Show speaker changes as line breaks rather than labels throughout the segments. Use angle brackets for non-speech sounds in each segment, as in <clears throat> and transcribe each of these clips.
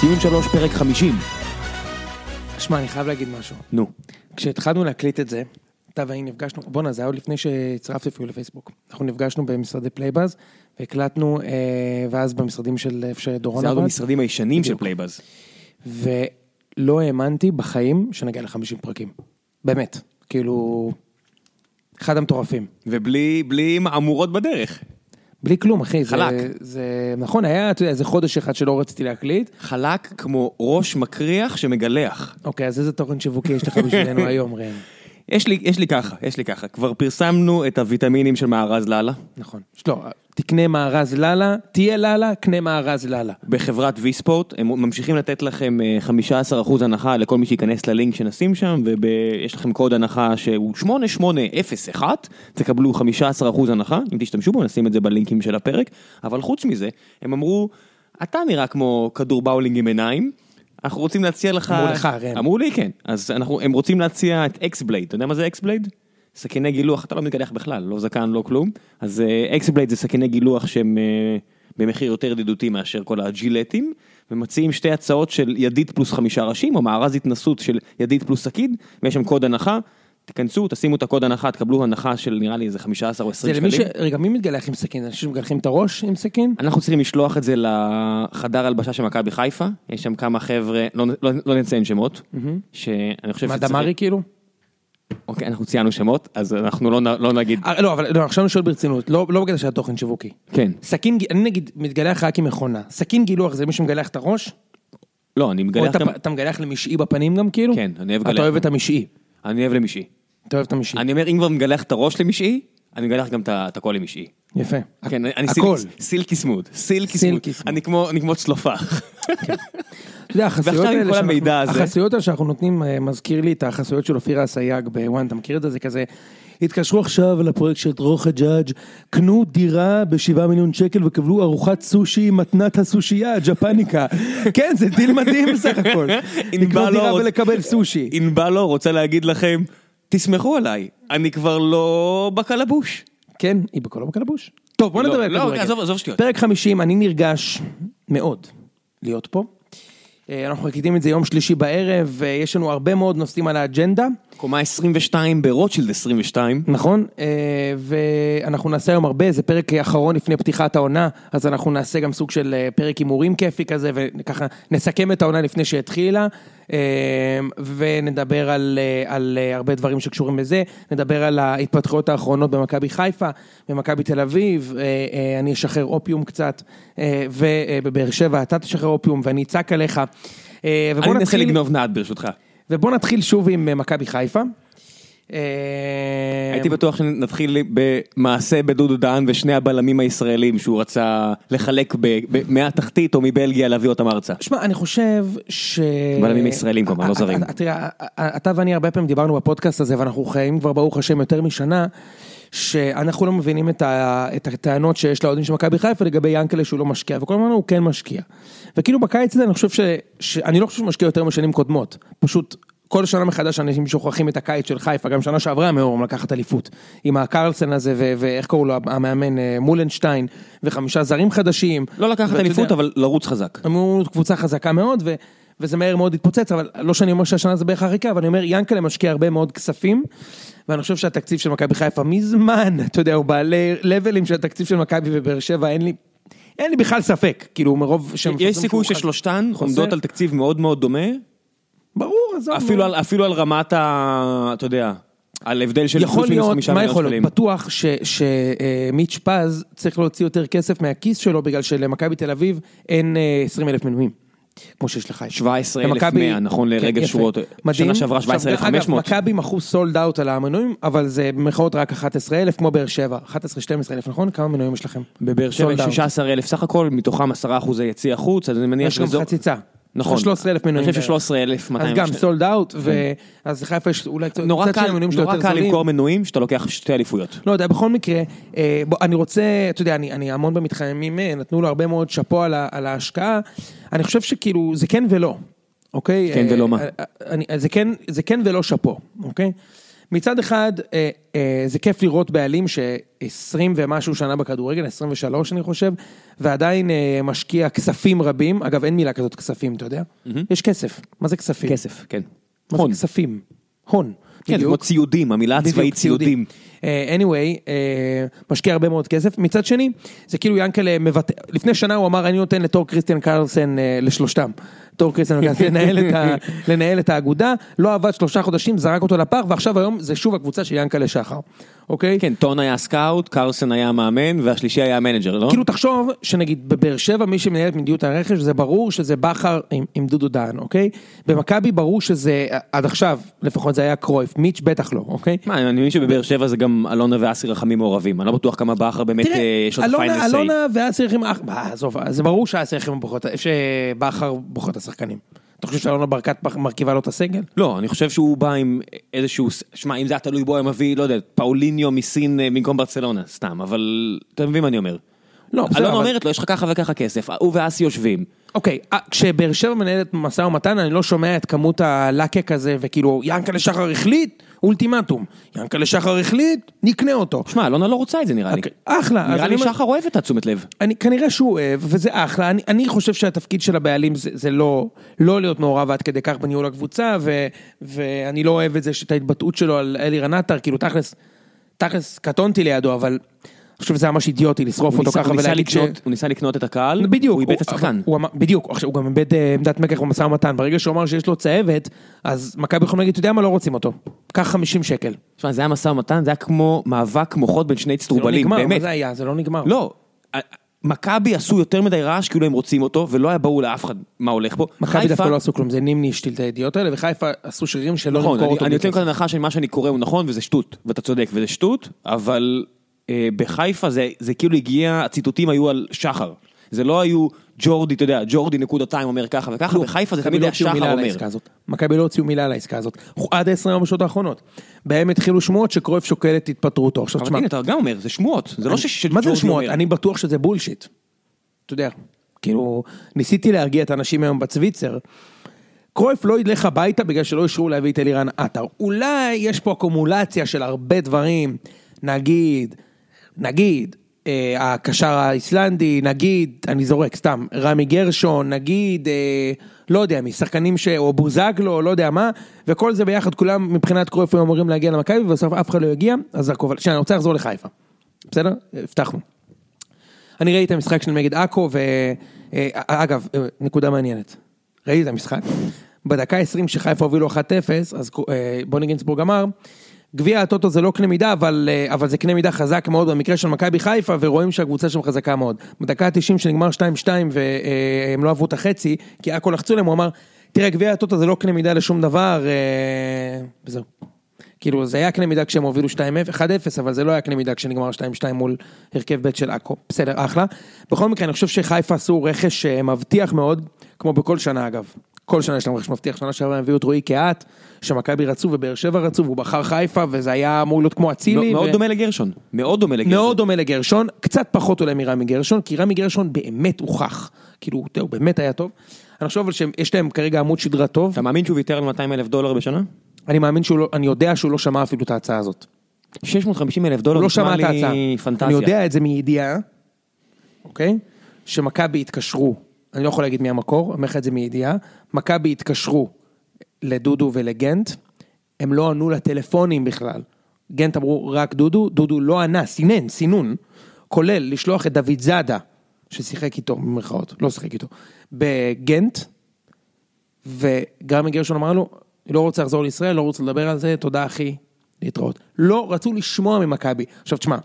ציון 3 פרק 50.
שמע, אני חייב להגיד משהו.
נו.
כשהתחלנו להקליט את זה, אתה ואני נפגשנו, בואנה, זה היה עוד לפני שהצטרפתי אפילו לפייסבוק. אנחנו נפגשנו במשרדי פלייבאז, והקלטנו, אה, ואז במשרדים של איפה שדורון
זה היה
עבד,
במשרדים הישנים של
בדיוק.
פלייבאז.
ולא האמנתי בחיים שנגיע ל-50 פרקים. באמת. כאילו, אחד המטורפים.
ובלי בלי מהמורות בדרך.
בלי כלום, אחי. זה-
חלק.
זה נכון, היה, אתה יודע, איזה חודש אחד שלא רציתי להקליט.
חלק כמו ראש מקריח שמגלח.
אוקיי, אז איזה תוכן שיווקי יש
<laughs>
לך בשבילנו היום, ראם?
יש לי, יש לי ככה, יש לי ככה. כבר פרסמנו את הוויטמינים של מארז לאללה
נכון. לא, תקנה מארז לאללה, תהיה לאללה, קנה מארז לאללה.
בחברת ויספורט. הם ממשיכים לתת לכם אה, 15% הנחה לכל מי שייכנס ללינק שנשים שם, ויש לכם קוד הנחה שהוא 8801, תקבלו 15% הנחה, אם תשתמשו בו, נשים את זה בלינקים של הפרק. אבל חוץ מזה, הם אמרו, אתה נראה כמו כדור באולינג עם עיניים. אנחנו רוצים להציע לך...
אמרו לך, ראם.
אמרו לי, כן. אז אנחנו, הם רוצים להציע את אקסבלייד. אתה יודע מה זה אקסבלייד? סכיני גילוח, אתה לא מתקדח בכלל, לא זקן, לא כלום. אז אקסבלייד זה סכיני גילוח שהם אה, במחיר יותר ידידותי מאשר כל הג'ילטים, ומציעים שתי הצעות של ידית פלוס חמישה ראשים, או מארז התנסות של ידית פלוס סכין, ויש שם קוד הנחה. תיכנסו, תשימו את הקוד הנחה, תקבלו הנחה של נראה לי איזה 15 או 20
זה
שקלים.
למי ש... רגע, מי מתגלח עם סכין? אנשים שמגלחים את הראש עם סכין?
אנחנו צריכים לשלוח את זה לחדר הלבשה של מכבי חיפה, יש שם כמה חבר'ה, לא, לא, לא נציין שמות, שאני חושב
מה, דמרי כאילו?
אוקיי, אנחנו ציינו שמות, אז אנחנו לא, נ- לא נגיד,
אה, לא, אבל לא, עכשיו אני שואל ברצינות, לא לא בגלל שהיה תוכן שיווקי.
כן,
סכין, ג- אני נגיד מתגלח רק עם מכונה. סכין גילוח זה מי שמגלח את הראש?
לא, אני
או
מגלח
אתה-
גם,
אתה מגלח למשעי בפנים גם כאילו?
כן, אני אוהב
אתה
לגלח.
אוהב את המשעי.
אני אוהב למשעי.
אתה אוהב את המשעי.
אני אומר, אם כבר מגלח את הראש למשעי, אני מגלח גם את ה- את הכל למשעי.
יפה.
כן, אני
הכל.
סילקי- סילקי סמוד, סילקי סמוד,
סילקי סמוד.
אני כמו- אני כמו צלופח. <laughs>
אתה יודע, החסויות
ועכשיו עם
האלה
כל
שאנחנו-
המידע הזה-
החסויות האלה שאנחנו נותנים אה, מזכיר לי את החסויות של אופירה אסייג בוואן, אתה מכיר את זה? זה כזה, התקשרו עכשיו לפרויקט של דרור חג'אג', קנו דירה בשבעה מיליון שקל וקבלו ארוחת סושי עם מתנת הסושייה, <laughs> ג'פניקה. כן, זה דיל מדהים בסך <laughs> הכל. לקנות
ענבל
דירה
אור.
ולקבל סושי.
אינבלו רוצה להגיד לכם, תסמכו עליי, אני כבר לא בקלבוש.
כן, היא בקולו בקלבוש. טוב, בוא
לא,
נדבר על
לא,
כדורגל.
עזוב, עזוב שטויות.
פרק 50, אני נרגש מאוד להיות פה. אה, אנחנו מקליטים את זה יום שלישי בערב, אה, יש לנו הרבה מאוד נושאים על האג'נדה.
קומה 22 ברוטשילד 22.
נכון, אה, ואנחנו נעשה היום הרבה, זה פרק אחרון לפני פתיחת העונה, אז אנחנו נעשה גם סוג של אה, פרק הימורים כיפי כזה, וככה נסכם את העונה לפני שהתחילה, אה, ונדבר על, אה, על אה, הרבה דברים שקשורים לזה, נדבר על ההתפתחויות האחרונות במכבי חיפה, במכבי תל אביב, אה, אה, אני אשחרר אופיום קצת, אה, ובבאר שבע אתה תשחרר אופיום ואני אצעק עליך. אה, ובוא
אני אנסה
נתחיל-
לגנוב נעד ברשותך.
ובוא נתחיל שוב עם אה, מכבי חיפה. אה,
הייתי בטוח שנתחיל במעשה בדודו דהן ושני הבלמים הישראלים שהוא רצה לחלק ב- ב- מהתחתית או מבלגיה להביא אותם ארצה.
שמע, אני חושב ש...
בלמים ישראלים כמובן, לא זרים.
אתה- תראה, אתה ואני הרבה פעמים דיברנו בפודקאסט הזה, ואנחנו חיים כבר ברוך השם יותר משנה, שאנחנו לא מבינים את, ה... את הטענות שיש לאוהדים של מכבי חיפה לגבי ינקלה שהוא לא משקיע, וכל הזמן הוא כן משקיע. וכאילו בקיץ הזה אני חושב ש... ש... אני לא חושב שהוא משקיע יותר משנים קודמות, פשוט... כל שנה מחדש אנשים שוכחים את הקיץ של חיפה, גם שנה שעברה הם היו אמורים לקחת אליפות. עם הקרלסן הזה, ו- ואיך קראו לו, המאמן אה, מולנשטיין, וחמישה זרים חדשים.
לא לקחת
ואתה יודע-
אליפות אבל לרוץ חזק.
הם היו קבוצה חזקה מאוד, ו, וזה מהר מאוד התפוצץ, אבל לא שאני אומר שהשנה זה בערך הריקה, אבל אני אומר, ינקלה משקיע הרבה מאוד כספים, ואני חושב שהתקציב של מכבי חיפה מזמן, אתה יודע, הוא בעלי לבלים של התקציב של מכבי ובאר שבע, אין לי, אין לי בכלל ספק, כאילו מרוב שהם...
יש
מפרסמים
סיכוי
שהוא
ששלושתן
חוזר.
עומדות על תקציב מאוד מאוד דומה,
ברור, עזוב.
אפילו
נו.
על- אפילו על רמת ה... אתה יודע, על הבדל של
יכול
פלוס מינוס
להיות,
חמישה
מה
מיליון
יכול להיות?
שקלים.
בטוח שמיץ' אה, פז צריך להוציא יותר כסף מהכיס שלו, בגלל שלמכבי תל אביב אין אה, 20 אלף מנויים, כמו שיש לך.
17,100 נכון
כן,
לרגע
יפה.
שורות,
מדהים.
שנה שעברה
עכשיו,
17,500.
אגב, מכבי מכרו סולד אאוט על המנויים, אבל זה במרכאות רק 11,000, כמו באר שבע. 11-12,000, נכון? כמה מנויים יש לכם?
בבאר שבע
Sold
יש
out.
16,000 סך הכל, מתוכם 10% יציע חוץ, אז אני מניח
יש גם
שזה-
חציצה.
נכון.
13,000 מנויים.
אני חושב ש-13,200.
אז גם סולד אאוט, אז לחיפה יש אולי קצת
נורא
קצת
קל,
של מנויים שלו
נורא
יותר
קל
זולים.
למכור מנויים שאתה לוקח שתי אליפויות.
לא יודע, בכל מקרה, אה, בוא, אני רוצה, אתה יודע, אני, אני המון במתחממים, אה, נתנו לו הרבה מאוד שאפו על, ה- על ההשקעה. אני חושב שכאילו, זה כן ולא, אוקיי?
כן
אה,
ולא מה?
אה, אה, אני, אה, זה, כן, זה כן ולא שאפו, אוקיי? מצד אחד, אה, אה, זה כיף לראות בעלים ש-20 ומשהו שנה בכדורגל, 23 אני חושב, ועדיין אה, משקיע כספים רבים. אגב, אין מילה כזאת כספים, אתה יודע? יש כסף. מה זה כספים?
כסף, כן.
מה זה
הון.
כספים? הון.
כן, זה כמו ציודים, המילה הצבאית ציודים.
אה, anyway, אה, משקיע הרבה מאוד כסף. מצד שני, זה כאילו ינקלה מבטא, לפני שנה הוא אמר, אני נותן לתור קריסטיאן קרלסן אה, לשלושתם. תור קריסטיאן קרלסן לנהל, את ה, לנהל את האגודה, לא עבד שלושה חודשים, זרק אותו לפח, ועכשיו היום זה שוב הקבוצה של ינקלה שחר, אוקיי?
כן, טון היה סקאוט, קרסן היה המאמן, והשלישי היה המנג'ר, לא?
כאילו תחשוב שנגיד בבאר שבע מי שמנהל את מדיניות הרכש זה ברור שזה בכר עם, עם דודו דהן, אוקיי? במכבי ברור שזה עד עכשיו, לפחות זה היה קרויף, מיץ' בטח לא, אוקיי?
מה, אני מבין שבבאר שבע זה גם אלונה ואסי רחמים מעורבים, אני לא בטוח כמה בכר באמת
תראה,
אה, יש לו את
אלונה,
הפיינל סיי.
אלונה ואסייחים, עזוב, אה, זה ברור שהאסייחים בוחרות, אה, שבכר בוחר את השחקנים. אתה חושב שאלונה ברקת בח- מרכיבה לו את הסגל?
לא, אני חושב שהוא בא עם איזשהו, שמע, אם זה היה תלוי בו, היה מביא, לא יודע, פאוליניו מסין אה, במקום ברצלונה, סתם, אבל אתה מבין מה אני אומר.
לא, בסדר,
אלונה
אבל-
אומרת לו, יש לך ככה וככה כסף, הוא ואסי יושבים.
אוקיי, אה, כשבאר שבע מנהלת משא ומתן, אני לא שומע את כמות הלקק הזה, וכאילו, ינקלה שחר החליט, אולטימטום. ינקלה שחר החליט, נקנה אותו.
שמע, אלונה לא רוצה את זה נראה לי.
אוקיי, אחלה. אז
נראה
אני
לי
אומר-
שחר אוהב את התשומת לב.
אני, כנראה שהוא אוהב, וזה אחלה, אני, אני חושב שהתפקיד של הבעלים זה, זה לא, לא להיות מעורב עד כדי כך בניהול הקבוצה, ו, ואני לא אוהב את זה שאת ההתבטאות שלו על אלירן עטר, כאילו תכלס, תכלס קטונתי לידו, אבל אני חושב שזה היה ממש אידיוטי לשרוף
הוא
אותו
ניסה-
ככה
הוא ניסה
ולהגיד ש...
לקנות- הוא ניסה לקנות את הקהל,
בדיוק,
הוא איבד את השחקן.
הוא אמר- בדיוק, עכשיו הוא גם איבד אה, עמדת מקח במשא ומתן, ברגע שהוא אמר שיש לו צהבת, אז מכבי יכולים להגיד, אתה יודע מה, לא רוצים אותו, קח 50 שקל.
תשמע, זה היה משא ומתן, זה היה כמו מאבק מוחות בין שני
זה לא
צטרובלים,
נגמר, מה
באמת.
זה היה? זה לא נגמר.
לא, ה- מכבי עשו יותר מדי רעש כאילו הם רוצים אותו, ולא היה ברור לאף אחד מה הולך פה.
מכבי
חיפה-
דווקא לא עשו כלום, זה נימני השתיל את הידיעות האלה, וחיפה עשו שרירים שלא
נכון,
נמכור
אני-
אותו.
אני יוצא
בלי כסף.
מנקודת הנחה שמה שאני קורא הוא נכון, וזה שטות, ואתה צודק, וזה שטות, אבל אה, בחיפה זה- זה כאילו הגיע, הציטוטים היו על שחר. זה לא היו ג'ורדי, אתה יודע, ג'ורדי נקודתיים אומר ככה וככה, בחיפה זה
מכבי
תמיד
לא
היה
הוציאו מילה
שחר
על
אומר.
העסקה הזאת. מכבי לא הוציאו מילה על העסקה הזאת. עד עשרה יום בשעות האחרונות. בהם התחילו שמועות שקרויף שוקל את התפטרותו. עכשיו
אבל
תשמע,
הנה, אתה גם אומר, זה שמועות, זה לא ש- שג'ורדי אומר.
מה זה שמועות? אני בטוח שזה בולשיט. אתה יודע, כאילו, ניסיתי להרגיע את האנשים היום בצוויצר. קרויף לא ילך הביתה בגלל שלא אישרו להביא את אלירן עטר. אולי יש פה אקומולציה של הרבה דברים, נגיד, נגיד, אה, הקשר האיסלנדי, נגיד, אני זורק, סתם, רמי גרשון, נגיד, אה, לא יודע, משחקנים ש... או בוזגלו, לא יודע מה, וכל זה ביחד, כולם מבחינת קרויף היו אמורים להגיע למכבי, ובסוף אף אחד לא הגיע, אז זה הכובע. שנייה, אני רוצה לחזור לחיפה. בסדר? הבטחנו. אני ראיתי את המשחק שלהם נגד עכו, אה, ואגב, אה, נקודה מעניינת. ראיתי את המשחק. בדקה 20 שחיפה הובילו 1-0, אז אה, בוני גינצבורג אמר, גביע הטוטו זה לא קנה מידה, אבל, אה, אבל זה קנה מידה חזק מאוד במקרה של מכבי חיפה, ורואים שהקבוצה שם חזקה מאוד. בדקה ה-90 שנגמר 2-2 והם לא עברו את החצי, כי עכו לחצו להם, הוא אמר, תראה, גביע הטוטו זה לא קנה מידה לשום דבר, אה, וזהו. כאילו זה היה קנה מידה כשהם הובילו 2-0, 1-0, אבל זה לא היה קנה מידה כשנגמר 2-2 מול הרכב ב' של עכו. בסדר, אחלה. בכל מקרה, אני חושב שחיפה עשו רכש אה, מבטיח מאוד, כמו בכל שנה אגב. כל שנה יש להם רכש מבטיח, שנה שעברה הם הביאו את רועי קהת, שמכבי רצו ובאר שבע רצו, והוא בחר חיפה, וזה היה אמור להיות כמו אצילי.
לא, מאוד
ו-
דומה לגרשון, מאוד דומה לגרשון.
מאוד דומה לגרשון, קצת פחות אולי מרמי גרשון, כי רמי גרשון באמת הוכח. כאילו, אתה יודע, הוא באמת היה טוב. אני חושב אבל שיש להם כרגע עמוד שדרה טוב,
אתה מאמין שהוא ויתר על 200 אלף דולר בשנה?
אני מאמין שהוא לא, אני יודע שהוא לא שמע אפילו את ההצעה הזאת.
650 אלף דולר,
לא
נשמע
שמע את
לי
ההצעה.
פנטזיה.
אני יודע את זה מידיעה, אוקיי? שמכבי התקשרו, אני לא יכול להגיד מי המקור, אני אומר לך את זה מידיעה, מכבי התקשרו לדודו ולגנט, הם לא ענו לטלפונים בכלל. גנט אמרו רק דודו, דודו לא ענה, סינן, סינון, כולל לשלוח את דוד זאדה, ששיחק איתו במרכאות, לא שיחק איתו, בגנט, וגרמי גרשון אמר לו, לא רוצה לחזור לישראל, לא רוצה לדבר על זה, תודה אחי, להתראות. לא רצו לשמוע ממכבי. עכשיו תשמע,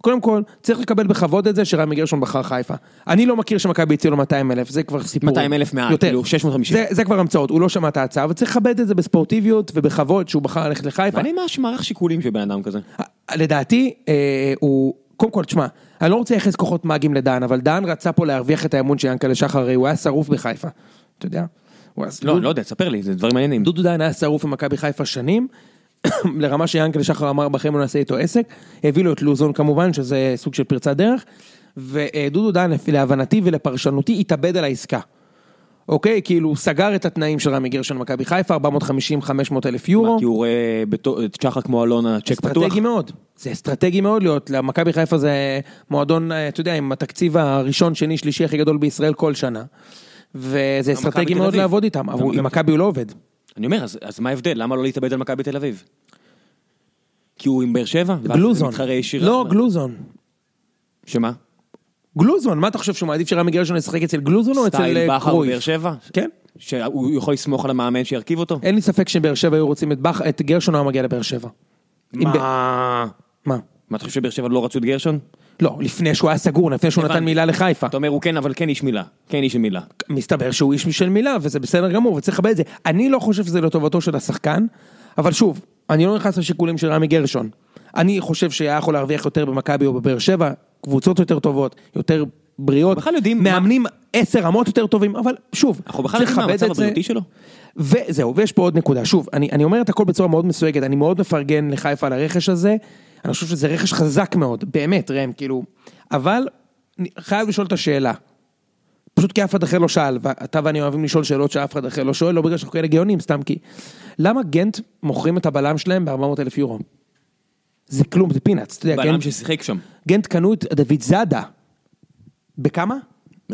קודם כל, צריך לקבל בכבוד את זה שרמי גרשון בחר חיפה. אני לא מכיר שמכבי הציעו לו 200 אלף, זה כבר סיפור.
200,000 מעל, כאילו, 650.
זה, זה כבר המצאות, הוא לא שמע את ההצעה, אבל צריך לכבד את זה בספורטיביות ובכבוד שהוא בחר ללכת לחיפה.
מעניין מה מערך שיקולים של בן אדם כזה.
לדעתי, אה, הוא, קודם כל, תשמע, אני לא רוצה לייחס כוחות מאגיים לדן, אבל דן רצה פה להרוויח את האמון של ינקלה שחר, הרי הוא היה שרוף בחיפה, אתה יודע? הוא היה-
לא, לא יודע, תספר לי, זה דברים מעניינים.
דודו דיין היה שרוף במכבי חיפה שנים, <coughs> לרמה שיאנקל שחר אמר בחיים לא נעשה איתו עסק, הביא לו את לוזון כמובן, שזה סוג של פרצת דרך, ודודו דיין לפי- להבנתי ולפרשנותי התאבד על העסקה. אוקיי? כאילו, הוא סגר את התנאים של רמי גרשון למכבי חיפה, 450-500 אלף
מה,
יורו.
כי הוא רואה בתו- את שחר כמו אלונה, צ'ק פתוח.
אסטרטגי מאוד. זה אסטרטגי מאוד להיות, למכבי חיפה זה מועדון, אה, אתה יודע, עם התקציב הראשון, שני, שלישי הכי גדול בישראל כל שנה. וזה אסטרטגי
תל
מאוד
אביב.
לעבוד איתם, אבל
גם-
עם מכבי הוא לא עובד.
אני אומר, אז, אז מה ההבדל? למה לא להתאבד על מכבי תל אביב? כי הוא עם באר שבע? ואז זה
גלוזון.
מתחרה ישיר.
לא, גלוזון.
שמה?
גלוזון, מה אתה חושב שהוא מעדיף שרמי גרשון ישחק אצל גלוזון או אצל
סטייל
אה,
בכר
קרויף?
ובאר שבע?
כן.
שהוא יכול לסמוך על המאמן שירכיב אותו?
אין לי ספק שבאר שבע היו רוצים את בכר, את גרשון היה מגיע לבאר שבע. אם ב-
מה?
מה?
מה אתה חושב שבאר שבע לא רצו את גרשון?
לא, לפני שהוא היה סגור, לפני שהוא נתן
הבנתי.
מילה לחיפה.
אתה אומר הוא כן, אבל כן איש מילה. כן איש מילה.
מסתבר שהוא איש משל מילה, וזה בסדר גמור, וצריך לכבד את זה. אני לא חושב שזה לטובתו של השחקן, אבל שוב, אני לא נכנס לשיקולים של רמי גרשון. אני חושב שהיה יכול להרוויח יותר במכבי או בבאר שבע, קבוצות יותר טובות, יותר בריאות,
בכלל יודעים מה-
מאמנים עשר רמות יותר טובים, אבל שוב,
אנחנו בכלל
צריך
יודעים מה
לכבד
המצב
את זה.
הבריאותי שלו?
וזהו, ויש פה עוד נקודה. שוב, אני, אני אומר את הכל בצורה מאוד מסויגת, אני מאוד מפרגן לחיפה על הרכש הזה, אני חושב שזה רכש חזק מאוד, באמת, ראם, כאילו, אבל אני חייב לשאול את השאלה. פשוט כי אף אחד אחר לא שאל, ואתה ואני אוהבים לשאול שאלות שאף אחד אחר לא שואל, לא בגלל שאנחנו כאלה גאונים, סתם כי... למה גנט מוכרים את הבלם שלהם ב-400 אלף יורו? זה כלום, זה פינאץ, אתה יודע,
בלם
גנט,
ששיחק שם.
גנט קנו את דוד זאדה. בכמה?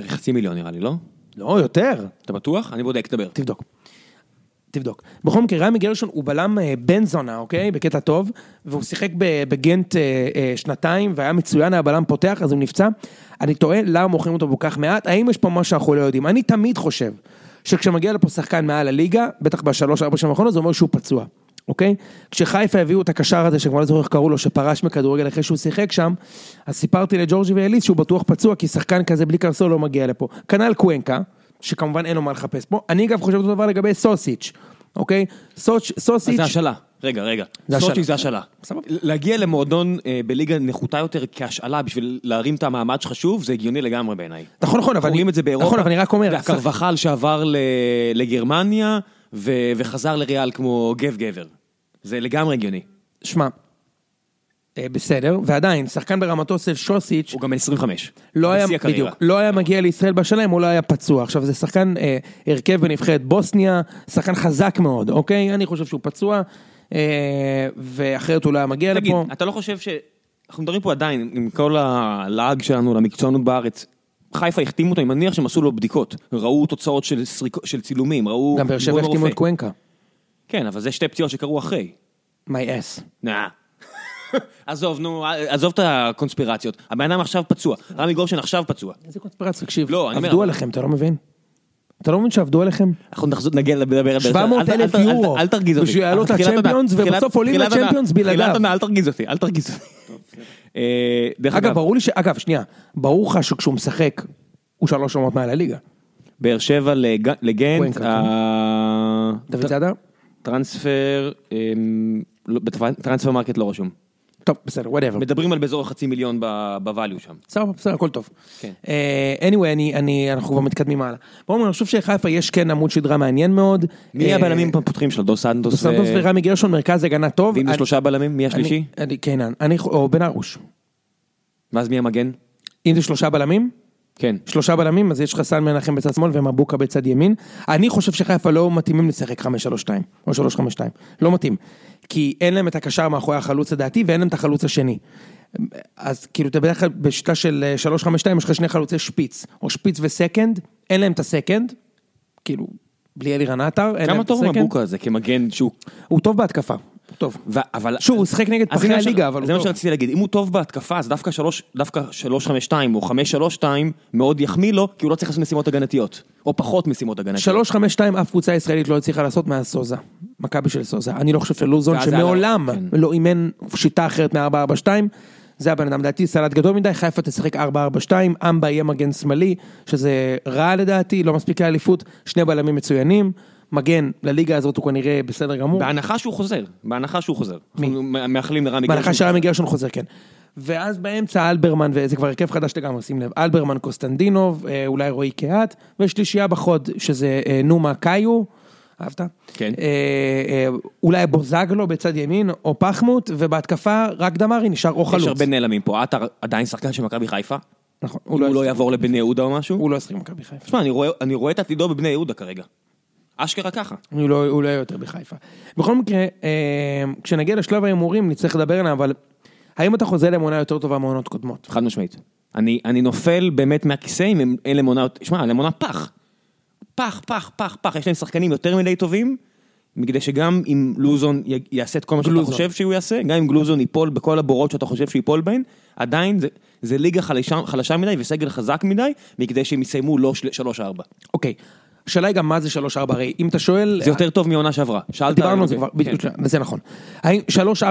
חצי מיליון נראה לי, לא?
לא, יותר.
אתה בטוח? אני בודק, תדבר.
תבדוק. תבדוק. בכל מקרה, רמי גרשון הוא בלם אה, בן זונה, אוקיי? בקטע טוב, והוא שיחק ב- בגנט אה, אה, שנתיים, והיה מצוין, היה בלם פותח, אז הוא נפצע. אני תוהה למה מוכרים אותו כל כך מעט, האם יש פה משהו שאנחנו לא יודעים? אני תמיד חושב שכשמגיע לפה שחקן מעל הליגה, בטח בשלוש-ארבע שנים האחרונות, זה אומר שהוא פצוע, אוקיי? כשחיפה הביאו את הקשר הזה, שכבר לא זוכר איך קראו לו, שפרש מכדורגל אחרי שהוא שיחק שם, אז סיפרתי לג'ורג'י ואליס שהוא בטוח פצוע, כי שחקן כזה בלי קרסול לא מגיע לפה. כנ"ל קוונקה. שכמובן אין לו מה לחפש פה. אני אגב חושב אותו דבר לגבי סוסיץ', אוקיי? סוס-
אז
סוסיץ',
זה השאלה. רגע, רגע.
זה השאלה.
סוצ'י זה השאלה.
סבבה.
להגיע למועדון אה, בליגה נחותה יותר כהשאלה בשביל להרים את המעמד שחשוב, זה הגיוני לגמרי בעיניי.
נכון, נכון, אבל...
רואים את זה באירופה.
נכון, אבל אני רק אומר...
והקרבחל שעבר ל- לגרמניה ו- וחזר לריאל כמו גב גבר. זה לגמרי הגיוני.
שמע, אה, בסדר, ועדיין, שחקן ברמתו של סוסיץ',
הוא גם בן 25.
לא היה,
בשיא הקריירה.
בדיוק, לא היה מגיע לישראל בשנה אם הוא לא היה פצוע. עכשיו זה שחקן אה, הרכב בנבחרת בוסניה, שחקן חזק מאוד, אוקיי? אני חושב שהוא פצוע, אה, ואחרת הוא לא היה מגיע
תגיד,
לפה.
אתה לא חושב ש... אנחנו מדברים פה עדיין, עם כל הלעג שלנו למקצוענות בארץ, חיפה החתימו אותו, אני מניח שהם עשו לו בדיקות, ראו תוצאות של, סריקו, של צילומים, ראו...
גם באר שבע
דיברו עם
החתימו את
הרופא.
קוונקה.
כן, אבל זה שתי פציעות שקרו אחרי.
מי אס.
נה. <laughs> עזוב, נו, עזוב את הקונספירציות. הבן אדם עכשיו פצוע, רמי גורשן עכשיו פצוע.
איזה קונספירציה, תקשיב.
לא, אני אומר,
עבדו
אבל-
עליכם, אתה לא מבין? אתה לא מבין שעבדו עליכם?
אנחנו נחזור, נגיע לדבר על באר שבע.
700,000
אל- אל- אל-
יורו.
אל- אל תרגיז אותי.
בשביל לעלות
תחילת עונה,
לצ'מפיונס,
תחילת-
ובסוף עולים
תחילת עונה,
לצ'מפיונס בלעדיו.
תחילת עונה, אל תרגיז אותי, אל תרגיז אותי. אה, דרך
אגב,
אגב,
ברור לי ש... אגב, שנייה, ברור לך שכשהוא משחק, הוא שלוש רמות מעל הליגה.
באר שבע לג- לגנט,
קוונקה,
ה-
דוד זאדה?
טרנספר, אמ, לא, בטרנ- טרנספר מרקט לא רשום.
טוב, בסדר, וואטאבר.
מדברים על באזור החצי מיליון ב- בvalue שם.
סבבה, בסדר, הכל טוב.
כן.
אה, anyway, אני, אני, אנחנו כבר מתקדמים הלאה. בואו, אני חושב שלחיפה יש כן עמוד שדרה מעניין מאוד.
מי
אה,
הבלמים הפותחים שלו? דו סנטוס?
דו סנטוס
ו-
ורמי גרשון, מרכז הגנה טוב.
ואם זה
אני-
שלושה בלמים? מי השלישי?
אני- אני- כן, אני, או בן ארוש.
ואז מי המגן?
אם זה שלושה בלמים,
כן.
שלושה בלמים, אז יש לך סן מנחם בצד שמאל ומבוקה בצד ימין. אני חושב שחיפה לא מתאימים לשחק 5-3-2 או 3-5-2, לא מתאים. כי אין להם את הקשר מאחורי החלוץ לדעתי ואין להם את החלוץ השני. אז כאילו אתה בדרך כלל בשיטה של אה, 3-5-2 יש לך שני חלוצי שפיץ, או שפיץ וסקנד, אין להם את הסקנד, כאילו, בלי אלירן עטר, אין להם
כמה
את הסקנד.
טוב מבוקה הזה כמגן שהוא...
הוא טוב בהתקפה, הוא טוב.
ו- אבל...
שוב, הוא שיחק נגד
אז
פחי
הנה ש-
הליגה, אבל
זה
הוא
מה
טוב.
שרציתי להגיד, אם הוא טוב בהתקפה, אז דווקא שלוש, דווקא שלוש חמש שתיים או חמש שלוש שתיים מאוד יחמיא לו, כי הוא לא צריך לעשות משימות הגנתיות, או פחות משימות הגנתיות.
3-5-2 אף קבוצה ישראלית לא הצליחה לעשות מאז סוזה. מכבי של סוזה. אני לא חושב שלוזון
ואז זה
שמעולם
עלה, כן.
לא אימן שיטה אחרת מ-4-4-2. זה הבן אדם, לדעתי סלט גדול מדי, חיפה תשחק 4-4-2, אמבה יהיה מגן שמאלי, שזה רע לדעתי, לא מספיק לאליפות, שני בלמים מצוינים, מגן לליגה הזאת הוא כנראה בסדר גמור,
בהנחה שהוא חוזר, בהנחה שהוא חוזר. אנחנו מא- מאחלים לרמי
בהנחה
גרשון.
שרמי גרשון חוזר, כן. ואז באמצע אלברמן, וזה כבר הרכב חדש לגמרי, שים לב, אלברמן קוסטנדינוב, אה, אולי רועי קהת, ושלישייה בחוד, שזה אה, נומה קאיו, אהבת?
כן.
אה, אה, אולי בוזגלו בצד ימין, או פחמוט, ובהתקפה רק דמרי נשאר או חלוץ.
יש הרבה נעלמים פה, עטר עדיין שחקן של מכבי חיפה,
נכון,
אם הוא לא יעבור לבני יהודה או משהו.
הוא לא ישחק במכבי חיפה.
תשמע, אני רואה- אני רואה את עתידו בבני יהודה כרגע. אשכרה ככה.
הוא לא, הוא לא יהיה יותר בחיפה. בכל מקרה, אה, כשנגיע לשלב ההימורים נצטרך לדבר עליהם, אבל האם אתה חוזה להם עונה יותר טובה מעונות קודמות?
חד משמעית. אני, אני נופל באמת מהכיסא אם הם- אין להם עונה, שמע, להם עונה פח. פח, פח, פח, פח, יש להם שחקנים יותר מדי טובים, מכדי שגם אם גלוזון י- יעשה את כל מה שאתה
גלוזון.
חושב שהוא יעשה, גם אם גלוזון ייפול בכל הבורות שאתה חושב שהוא ייפול בהן, עדיין זה, זה ליגה חלשה, חלשה מדי וסגל חזק מדי, מכדי שהם יסיימו לא של- 3-4.
אוקיי, השאלה היא גם מה זה 3-4, הרי אם אתה שואל...
זה יותר טוב מהעונה שעברה. שאלת...
דיברנו על זה
אוקיי,
כבר,
כן.
בדיוק, זה נכון. האם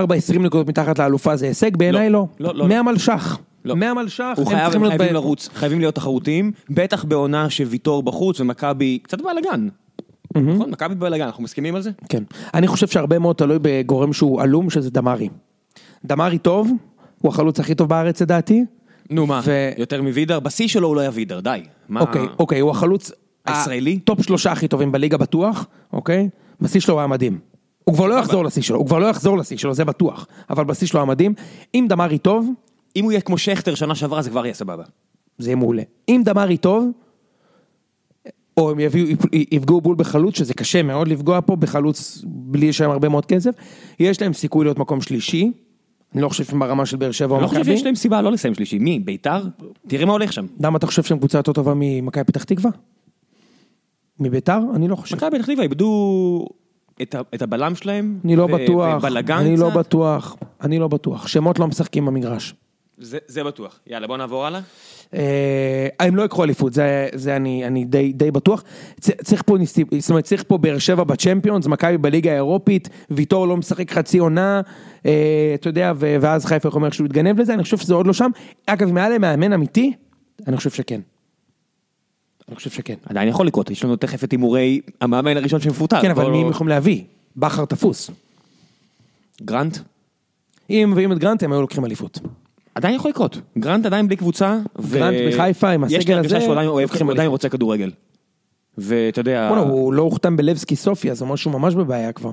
3-4, 20 נקודות מתחת לאלופה זה הישג? בעיניי לא.
לא, לא, לא.
100 מלש"ח.
לא.
100 מלש"ח,
הוא
הם
חייב,
צריכים
הם
להיות
חייבים
ב-
לרוץ, חייבים להיות תחרותיים, בטח בעונה שוויטור בחוץ ומכבי קצת בלאגן. נכון, מכבי בלאגן, אנחנו מסכימים על זה?
כן. אני חושב שהרבה מאוד תלוי בגורם שהוא עלום, שזה דמרי. דמרי טוב, הוא החלוץ הכי טוב בארץ לדעתי.
נו מה,
ו-
יותר מווידר? בשיא שלו הוא לא היה וידר, די. מה...
אוקיי, אוקיי, הוא החלוץ...
הישראלי?
הטופ שלושה הכי טובים בליגה בטוח, אוקיי? בשיא שלו היה מדהים. הוא כבר לא יחזור לשיא שלו, הוא כבר לא יחזור לשיא שלו, זה בטוח. אבל בשיא שלו היה מדהים. אם דמרי טוב,
אם הוא יהיה כמו שכטר שנה שעברה זה כבר יהיה סבבה.
זה יהיה מעולה. אם דמרי טוב, או הם יביאו, יפגעו בול בחלוץ, שזה קשה מאוד לפגוע פה בחלוץ בלי לשלם הרבה מאוד כסף, יש להם סיכוי להיות מקום שלישי. אני לא חושב שהם ברמה של באר שבע
אני
או
לא חושב
מכבי.
שיש להם סיבה לא לסיים שלישי. מי? ביתר? תראה מה הולך שם.
למה אתה חושב שהם קבוצה יותר טובה ממכבי פתח תקווה? מביתר? אני לא חושב.
מכבי פתח תקווה איבדו את, ה... את הבלם שלהם.
אני לא בטוח,
ובלאגן
אני לא
קצת.
בטוח, אני לא בטוח, שמות לא משחקים במגרש.
זה, זה בטוח. יאללה, בוא נעבור הלאה.
אה, הם לא יקחו אליפות, זה, זה אני, אני די, די בטוח. צ- צריך פה, ניסי, זאת אומרת, צריך פה באר שבע בצ'מפיונס, מכבי בליגה האירופית, ויטור לא משחק חצי עונה, אה, אתה יודע, ו- ואז חיפה יכול אומר שהוא יתגנב לזה, אני חושב שזה עוד לא שם. אגב, אם היה להם מאמן אמיתי, אני חושב שכן. אני חושב שכן.
עדיין יכול לקרות, יש לנו תכף את הימורי המאמן הראשון שמפוטר.
כן, אבל
בוא-
מי הם יכולים להביא? בכר תפוס.
גרנט?
אם מביאים את גרנט, הם היו לוקחים אליפות.
עדיין יכול לקרות. גרנט עדיין בלי קבוצה.
גרנט בחיפה עם
יש
הסגל
לי הרגשה
הזה,
שהוא עדיין אוהב,
לוקחים
הוא עדיין
אליפות.
רוצה כדורגל. ואתה יודע...
בוא'נה, הוא לא הוכתם בלבסקי סופיה, זה אומר שהוא ממש בבעיה כבר.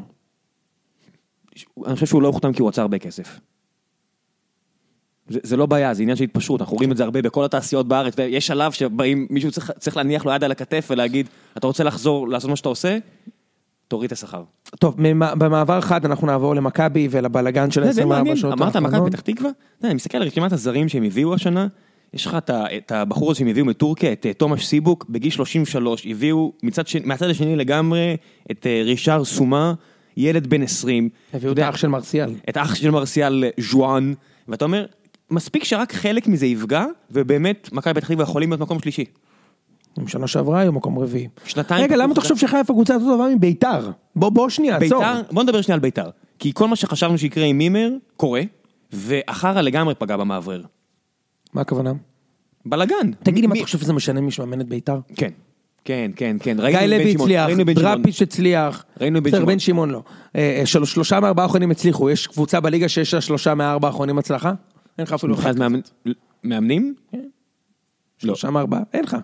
אני חושב שהוא לא הוחתם כי הוא רצה הרבה כסף. זה, זה לא בעיה, זה עניין של התפשרות, אנחנו רואים את זה הרבה בכל התעשיות בארץ, אתה יודע, יש שלב שבאים, מישהו צריך, צריך להניח לו יד על הכתף ולהגיד, אתה רוצה לחזור לעשות מה שאתה עושה, תוריד את השכר.
טוב, ממ- במעבר חד אנחנו נעבור למכבי ולבלגן של
זה די מעניין,
ה-24 שעות
אמרת מכבי
כן, האחרונות.
פתח תקווה? אתה יודע, אני מסתכל על רשימת הזרים שהם הביאו השנה, יש לך את ה- את הבחור הזה שהם הביאו מטורקיה, את אה, תומש סיבוק, בגיל 33, הביאו מצד שני- מהצד השני לגמרי את אה, רישר סומה, ילד בן 20.
הביאו את
יודע,
האח של מרסיאל.
את אח של מרסיאל ז'ואן, ואתה אומר, מספיק שרק חלק מזה יפגע, ובאמת מכבי פתח תקווה יכולים להיות מקום שלישי.
הם שנה שעברה היו מקום רביעי.
שנתיים...
רגע, למה אתה חושב שחיפה קבוצה יותר טובה מביתר? בוא, בוא שנייה, עצור.
ביתר, בוא נדבר שנייה על ביתר. כי כל מה שחשבנו שיקרה עם מימר, קורה, ואחרא לגמרי פגע במאוורר.
מה הכוונה?
בלאגן.
תגיד לי, מה
מי-
אתה חושב שזה משנה מי שמאמן את ביתר?
כן. כן, כן, כן.
גיא
ראינו את בן
לוי
שמעון,
הצליח,
ראינו את בן שמעון.
דראפיץ' הצליח,
ראינו את בן
בסדר,
שמעון.
בן שמעון לא. אה, אה, של- שלושה מארבעה האחרונים הצליחו, יש קבוצה בליגה שיש לה שלושה מארבעה האחרונים הצלחה? אין לך אפילו אחד.
מבחינת מאמן- מאמנים? לא.
כן. שלושה מארבעה, אין לך.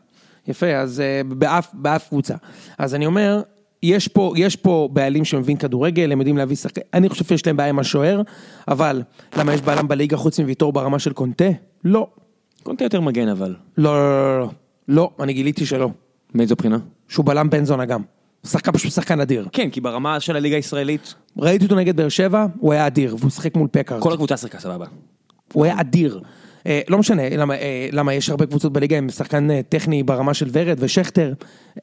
יפה, אז אה, באף, באף קבוצה. אז אני אומר, יש פה, יש פה בעלים שמבין כדורגל, הם יודעים להביא שחקנים, אני חושב שיש להם בעיה עם השוער, אבל למה יש בעלם בליגה חוץ מוויטור ברמה של קונטה? לא.
קונטה יותר מגן אבל.
לא, לא, לא, לא, לא, אני גיליתי שלא.
מאיזו בחינה?
שהוא בלם בן זונה גם. שחקן פשוט שחקן אדיר.
כן, כי ברמה של הליגה הישראלית,
ראיתי אותו נגד באר שבע, הוא היה אדיר, והוא שיחק מול פקארט.
כל הקבוצה שיחקה סבבה.
הוא היה אדיר. אה, לא משנה למה, אה, למה יש הרבה קבוצות בליגה עם שחקן אה, טכני ברמה של ורד ושכטר.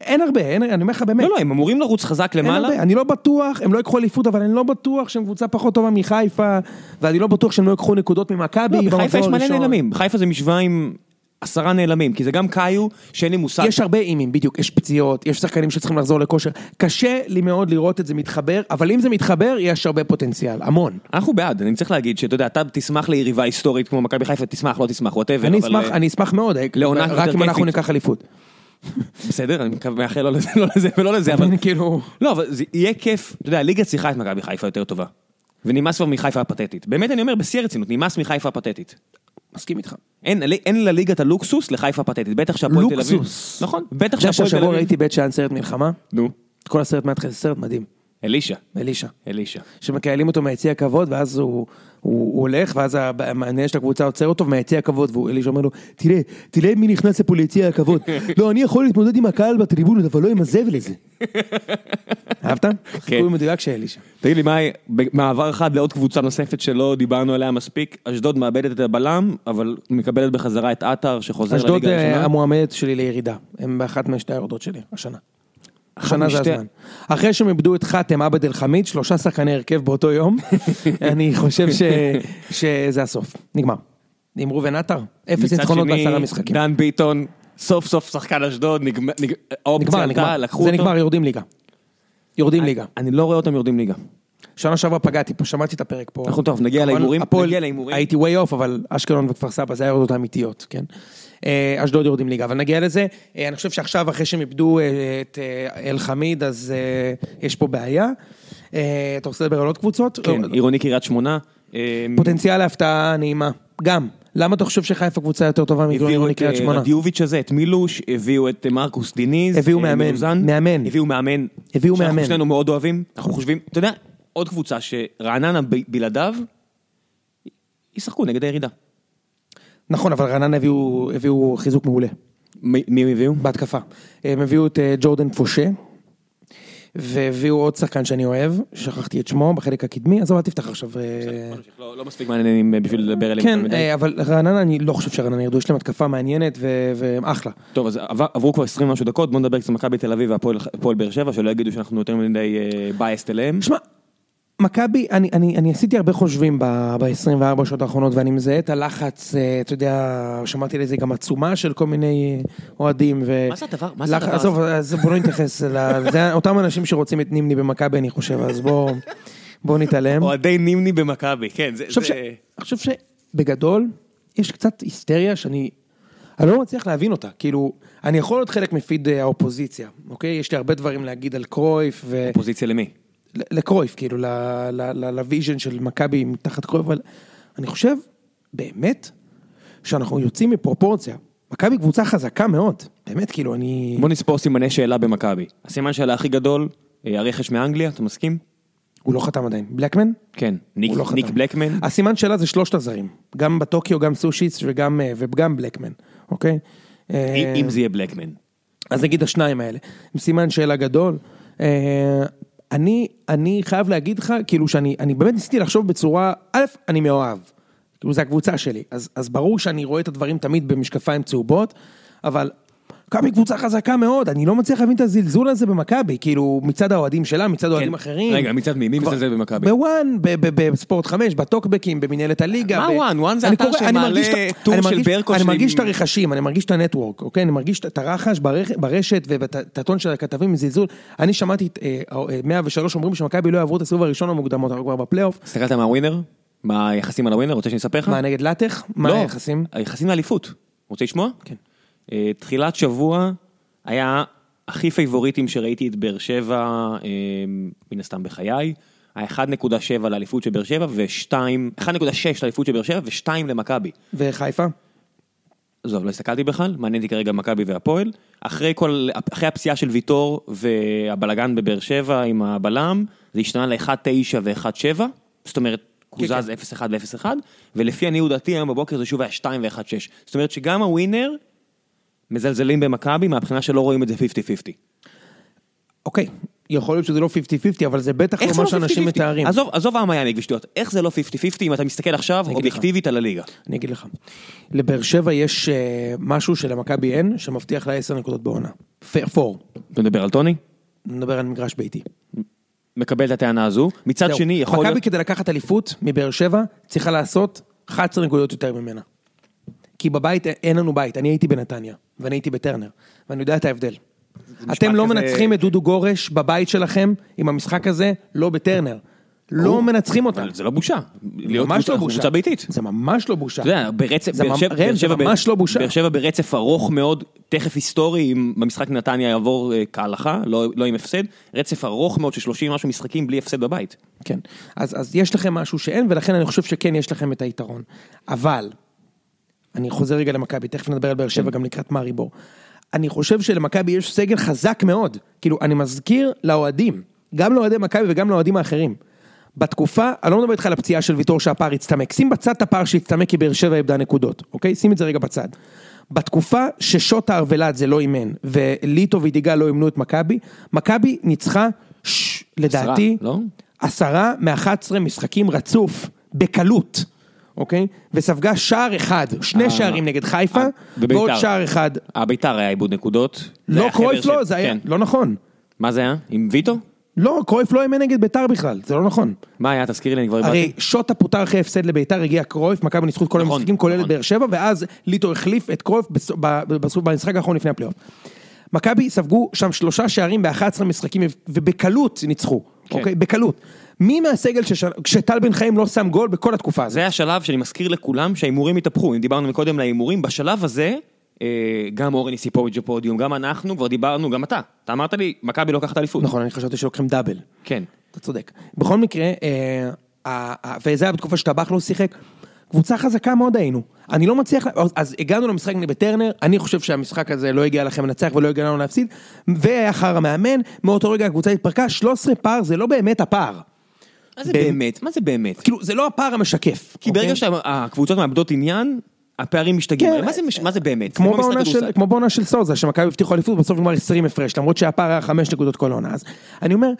אין הרבה, אין, אני אומר לך באמת.
לא, לא, הם אמורים לרוץ חזק
אין
למעלה.
הרבה, אני לא בטוח, הם לא יקחו אליפות, אבל אני לא בטוח שהם קבוצה פחות טובה מחיפה, ואני לא בטוח שהם לא יקחו נקודות ממכבי.
לא, בחיפה
במחזור
יש מלא
הראשון.
נעלמים, בחיפה זה משוואה עם עשרה נעלמים, כי זה גם קאיו שאין לי מושג.
יש הרבה אימים, בדיוק, יש פציעות, יש שחקנים שצריכים לחזור לכושר. קשה לי מאוד לראות את זה מתחבר, אבל אם זה מתחבר, יש הרבה פוטנציאל, המון.
אנחנו בעד, אני צריך להגיד שאתה יודע, אתה תשמח ליריבה היסטורית כמו מכבי חיפה, תשמח, לא תשמח, ווטאבר.
אני אשמח, אני אשמח מאוד, אה,
לעונה יותר
רק אם אנחנו
כיפית.
ניקח אליפות.
בסדר, אני מקווה- מאחל לא לזה, <laughs> לא לזה ולא לזה, אבל...
אבל כאילו...
לא, אבל זה יהיה כיף, אתה יודע, הליגה צריכה את מכבי חיפה יותר טובה. ונמאס כבר מחיפה הפתטית. באמת, אני אומר, בשיא הרצינות, נמאס מחיפה הפתטית.
מסכים איתך.
אין, אין לליגה את הלוקסוס לחיפה הפתטית, בטח שהפועל תל אביב.
לוקסוס.
נכון, בטח
אתה יודע
שהפועל תל
שהשבוע
אביב.
ראיתי בית שאן סרט מלחמה?
נו,
את כל הסרט מהתחילת, זה סרט מדהים,
אלישע,
אלישע.
אלישע.
שמקהלים אותו מיציע הכבוד, ואז הוא, הוא הוא הוא הולך, ואז המעניין של הקבוצה עוצר אותו, ומהיציע הכבוד, והוא אלישע אומר לו, תראה, תראה מי נכנס לפה
<laughs>
ליציע הכבוד. לא, אני יכול להתמודד עם הקהל בטריבונות, אבל לא עם הזבל הזה. אהבת?
כן.
חיקוי מדויק של אלישע.
תגיד לי, מאי, במעבר אחד לעוד קבוצה נוספת שלא דיברנו עליה מספיק, אשדוד מאבדת את הבלם, אבל מקבלת בחזרה את עטר שחוזר
אשדוד
לליגה
אה,
הראשונה.
המועמדת שלי לירידה, הם באחת משתי היורדות שלי, השנה. השנה זה
משתי-
הזמן. אחרי שהם איבדו את חאתם עבד אל חמיד, שלושה שחקני הרכב
<laughs>
באותו יום, אני חושב ש- שזה הסוף, נגמר. עם ראובן עטר, אפס
מצד
ניצחונות
שני,
בעשרה משחקים.
דן ביטון, סוף סוף שחקן אשדוד, נגמר, נגמר, האופציה
נגמר,
עלתה,
נגמר,
לקחו
זה
אותו.
נגמר, יורדים ליגה. יורדים
אני-
ליגה.
אני לא רואה אותם יורדים ליגה.
שנה שעברה פגעתי פה, שמעתי את הפרק פה.
אנחנו טוב, נגיע
כמובן,
להימורים,
נכון, הפועל-
נגיע להימורים.
הייתי way off, אבל אשקלון וכפר סבא, זה היורדות האמיתיות, כן? אה, אשדוד יורדים ליגה, אבל נגיע לזה. אה, אני חושב שעכשיו, אחרי שהם איבדו אה, את אלחמיד, אז אה, יש פה בעיה. אה, אתה רוצה לדבר על עוד קבוצות?
כן,
אה,
עירוני קריית שמונה. אה,
פוטנציאל להפתעה נעימה. גם. למה אתה חושב שחיפה קבוצה יותר טובה
הביאו
מגלוני
את
קריית
אה,
שמונה?
רדיוביץ' הזה, את מילוש, הביאו את אה, מרקוס דיניז.
הביאו
אה,
מאמן,
מאוזן.
מאמן.
הביאו מאמן.
הביאו מאמן.
שאנחנו שנינו מאוד אוהבים. אנחנו חושבים, אתה יודע, עוד קבוצה שרעננה ב- בלעדיו, ישחקו נגד הירידה.
נכון, אבל רעננה הביאו הביאו חיזוק מעולה.
מי מי הם הביאו?
בהתקפה. הם הביאו את אה, ג'ורדן פושה, והביאו עוד שחקן שאני אוהב, שכחתי את שמו בחלק הקדמי, עזוב, אל תפתח עכשיו. אה,
לא לא מספיק מעניינים אה, בשביל לדבר עליהם. יותר
כן,
מדי.
אה, אבל רעננה, אני לא חושב שרעננה ירדו, יש להם התקפה מעניינת ו- והם אחלה.
טוב, אז עבר- עברו כבר 20 משהו דקות, בוא נדבר קצת על מכבי תל אביב והפועל הפועל באר שבע, שלא יגידו שאנחנו יותר מדי בייסט אליהם.
שמע, מכבי, אני, אני, אני עשיתי הרבה חושבים ב-24 שעות האחרונות, ואני מזהה את הלחץ, אה, אתה יודע, שמעתי לזה גם עצומה של כל מיני אה, אוהדים. ו...
מה זה הדבר- מה זה
לח-
הדבר הזה?
עזוב, אז בוא לא נתייחס, ל- זה אותם אנשים שרוצים את נימני במכבי, אני חושב, אז בוא, בוא נתעלם.
אוהדי נימני במכבי, כן, זה...
אני חושב ש-
זה-
אני חושב שבגדול, יש קצת היסטריה שאני... אני לא מצליח להבין אותה, כאילו, אני יכול להיות חלק מפיד אה, האופוזיציה, אוקיי? יש לי הרבה דברים להגיד על קרויף ו...
פוזיציה למי?
ל- לקרויף, כאילו, ל- ל- ל- לוויז'ן של מכבי מתחת קרויף, אבל אני חושב, באמת, שאנחנו יוצאים מפרופורציה. מכבי קבוצה חזקה מאוד, באמת, כאילו, אני...
בוא נספור סימני שאלה במכבי. הסימן שאלה הכי גדול, אה, הרכש מאנגליה, אתה מסכים?
הוא לא חתם עדיין. בלקמן?
כן. ניק,
הוא לא חתם.
ניק בלקמן,
הסימן שאלה זה שלושת הזרים, גם בטוקיו, גם סושיץ וגם, אה, וגם בלקמן, אוקיי?
אם
אה,
אם זה יהיה בלקמן.
אז נגיד השניים האלה, עם סימן שאלה גדול. אה, אני, אני חייב להגיד לך, כאילו שאני אני באמת ניסיתי לחשוב בצורה, א', אני מאוהב. כאילו זה הקבוצה שלי, אז, אז ברור שאני רואה את הדברים תמיד במשקפיים צהובות, אבל מכבי קבוצה חזקה מאוד, אני לא מצליח להבין את הזלזול הזה במכבי, כאילו מצד האוהדים שלה, מצד אוהדים אחרים.
כן. רגע, מצד מי? מי
כבר-
מזלזל במכבי?
בוואן, ב- ב- בספורט 5, בטוקבקים, במנהלת הליגה.
מה
ב-
וואן? וואן זה
אני
אתר
קורא- אני
שמעלה
מרגיש את-
טור
אני
של
מרגיש-
ברקו
אני
של-
מרגיש את הרכשים, אני מרגיש את הנטוורק, אוקיי? אני מרגיש את- את הרחש ברכ- ברשת ואת הטון של הכתבים מזלזול. אני שמעתי את אה, אה, 103 אומרים שמכבי לא יעברו את הסיבוב הראשון המוקדמות, אנחנו כבר בפלייאוף.
הסתכלת מהווינר? מה היחסים על הווינר? רוצה שאני אספר לך?
מה, נגד לטח? מה
כן. לא,
היחסים?
היחסים לאליפות. רוצה לשמוע?
כן.
אה, תחילת שבוע היה הכי פייבוריטים שראיתי את באר שבע, אה, מן הסתם בחיי. היה 1.7 לאליפות של באר שבע ו-2, 1.6 לאליפות של באר שבע ו-2 למכבי.
וחיפה?
עזוב, לא הסתכלתי בכלל, מעניין אותי כרגע מכבי והפועל. אחרי כל, אחרי הפציעה של ויטור והבלגן בבאר שבע עם הבלם, זה השתנה ל-1.9 ו-1.7, זאת אומרת,
כן,
קוזז 0.1 ו-0.1, ולפי עניות דעתי היום בבוקר זה שוב היה 2 ו-1.6. זאת אומרת שגם הווינר מזלזלים במכבי מהבחינה שלא רואים את זה 50-50.
אוקיי, יכול להיות שזה לא 50-50, אבל זה בטח לא
איך זה
מה
לא 50-50?
שאנשים מתארים.
עזוב, עזוב המיאמיק ושטויות, איך זה לא 50-50 אם אתה מסתכל עכשיו
אגיד לך.
אובייקטיבית על הליגה?
אני אגיד לך. לבאר שבע יש אה, משהו שלמכבי אין, שמבטיח לה 10 נקודות בעונה. פ- פור.
אתה מדבר על טוני?
נדבר על מגרש ביתי.
מקבל את הטענה הזו. מצד
זהו.
שני, יכול להיות...
מכבי כדי לקחת אליפות מבאר שבע, צריכה לעשות 11 נקודות יותר ממנה. כי בבית אין לנו בית, אני הייתי בנתניה, ואני הייתי בטרנר, ואני יודע את ההבדל. אתם לא
כזה-
מנצחים את דודו גורש בבית שלכם עם המשחק הזה, לא בטרנר. לא
ברור.
מנצחים אותם.
אבל זה לא בושה. להיות
ממש
קבוצה-
לא
אנחנו
בושה.
קבוצה ביתית.
זה ממש לא בושה.
אתה יודע, ברצף,
זה ממ- ראם, זה
בר-
ממש לא בושה.
באר שבע ברצף ארוך מאוד, תכף היסטורי, אם במשחק נתניה יעבור אה, כהלכה, לא לא עם הפסד, רצף ארוך מאוד של 30 משהו משחקים בלי הפסד בבית.
כן. אז, אז יש לכם משהו שאין, ולכן אני חושב שכן יש לכם את היתרון. אבל, אני חוזר רגע למכבי, תכף נדבר על באר שבע גם לקראת מארי בור. אני חושב שלמכבי יש סגל חזק מאוד. כאילו, אני מזכיר לאוהדים, גם לאוהדי מכבי וגם לאוהדים האחרים. בתקופה, אני לא מדבר איתך על הפציעה של ויטור שהפער הצטמק, שים בצד את הפער שהצטמק כי באר שבע איבדה נקודות, אוקיי? שים את זה רגע בצד. בתקופה ששוטה ולאדזה לא אימן, וליטו וידיגה לא אימנו את מכבי, מכבי ניצחה, ש... לדעתי,
לא?
עשרה מאחת עשרה משחקים רצוף, בקלות, אוקיי? וספגה שער אחד, שני
אה.
שערים נגד חיפה,
אה, ובית"ר.
ועוד שער אחד.
אה, ביתר היה עיבוד נקודות. זה
לא
היה חבר
קרויף
של-
לא, זה היה,
כן.
לא נכון.
מה זה היה? עם ויטו?
לא, קרויף לא אימן נגד ביתר בכלל, זה לא נכון.
מה היה? תזכירי לי, אני כבר
הרי שוטה פוטר אחרי הפסד לביתר, הגיע קרויף, מכבי ניצחו את כל
נכון,
המשחקים, כולל את
נכון.
באר שבע, ואז ליטו החליף את קרויף בס- ב- ב- בסוף- במשחק האחרון לפני הפלייאוף. מכבי ספגו שם שלושה שערים ב-11 משחקים, ובקלות ניצחו,
כן.
אוקיי? בקלות. מי מהסגל שש- שטל בן חיים לא שם גול בכל התקופה הזאת?
זה השלב שאני מזכיר לכולם שההימורים התהפכו, אם דיברנו מקודם על ההימורים, בשלב הזה, אה, גם אורן יסיפוביץ' בפודיום, גם אנחנו, כבר דיברנו, גם אתה. אתה אמרת לי, מכבי לוקחת אליפות.
נכון, אני חשבתי שלוקחים דאבל.
כן.
אתה צודק. בכל מקרה, אה, ה- ה- וזה היה בתקופה שטבח לא שיחק, קבוצה חזקה מאוד היינו. אני לא מצליח, אז- אז הגענו למשחק נגד טרנר, אני חושב שהמשחק הזה לא הגיע לכם לנצח ולא הגיע לנו להפסיד, והיה חרא מאמן, מאותו רגע הקבוצה התפרקה, 13 פער זה לא באמת הפער.
מה זה
באמת?
באמת? מה זה באמת?
כאילו, זה לא הפער המשקף.
כי ברגע שהקבוצות מאבדות עניין, הפערים משתגעים.
אוקיי. כן.
הרי מה זה מש- מה זה באמת?
כמו
זה לא במשחק
בעונה של,
כדורסל.
כמו בעונה של סוזה, שמכבי הבטיחו אליפות, בסוף נגמר 20 הפרש, למרות שהפער היה 5 נקודות כל העונה. אז אני אומר,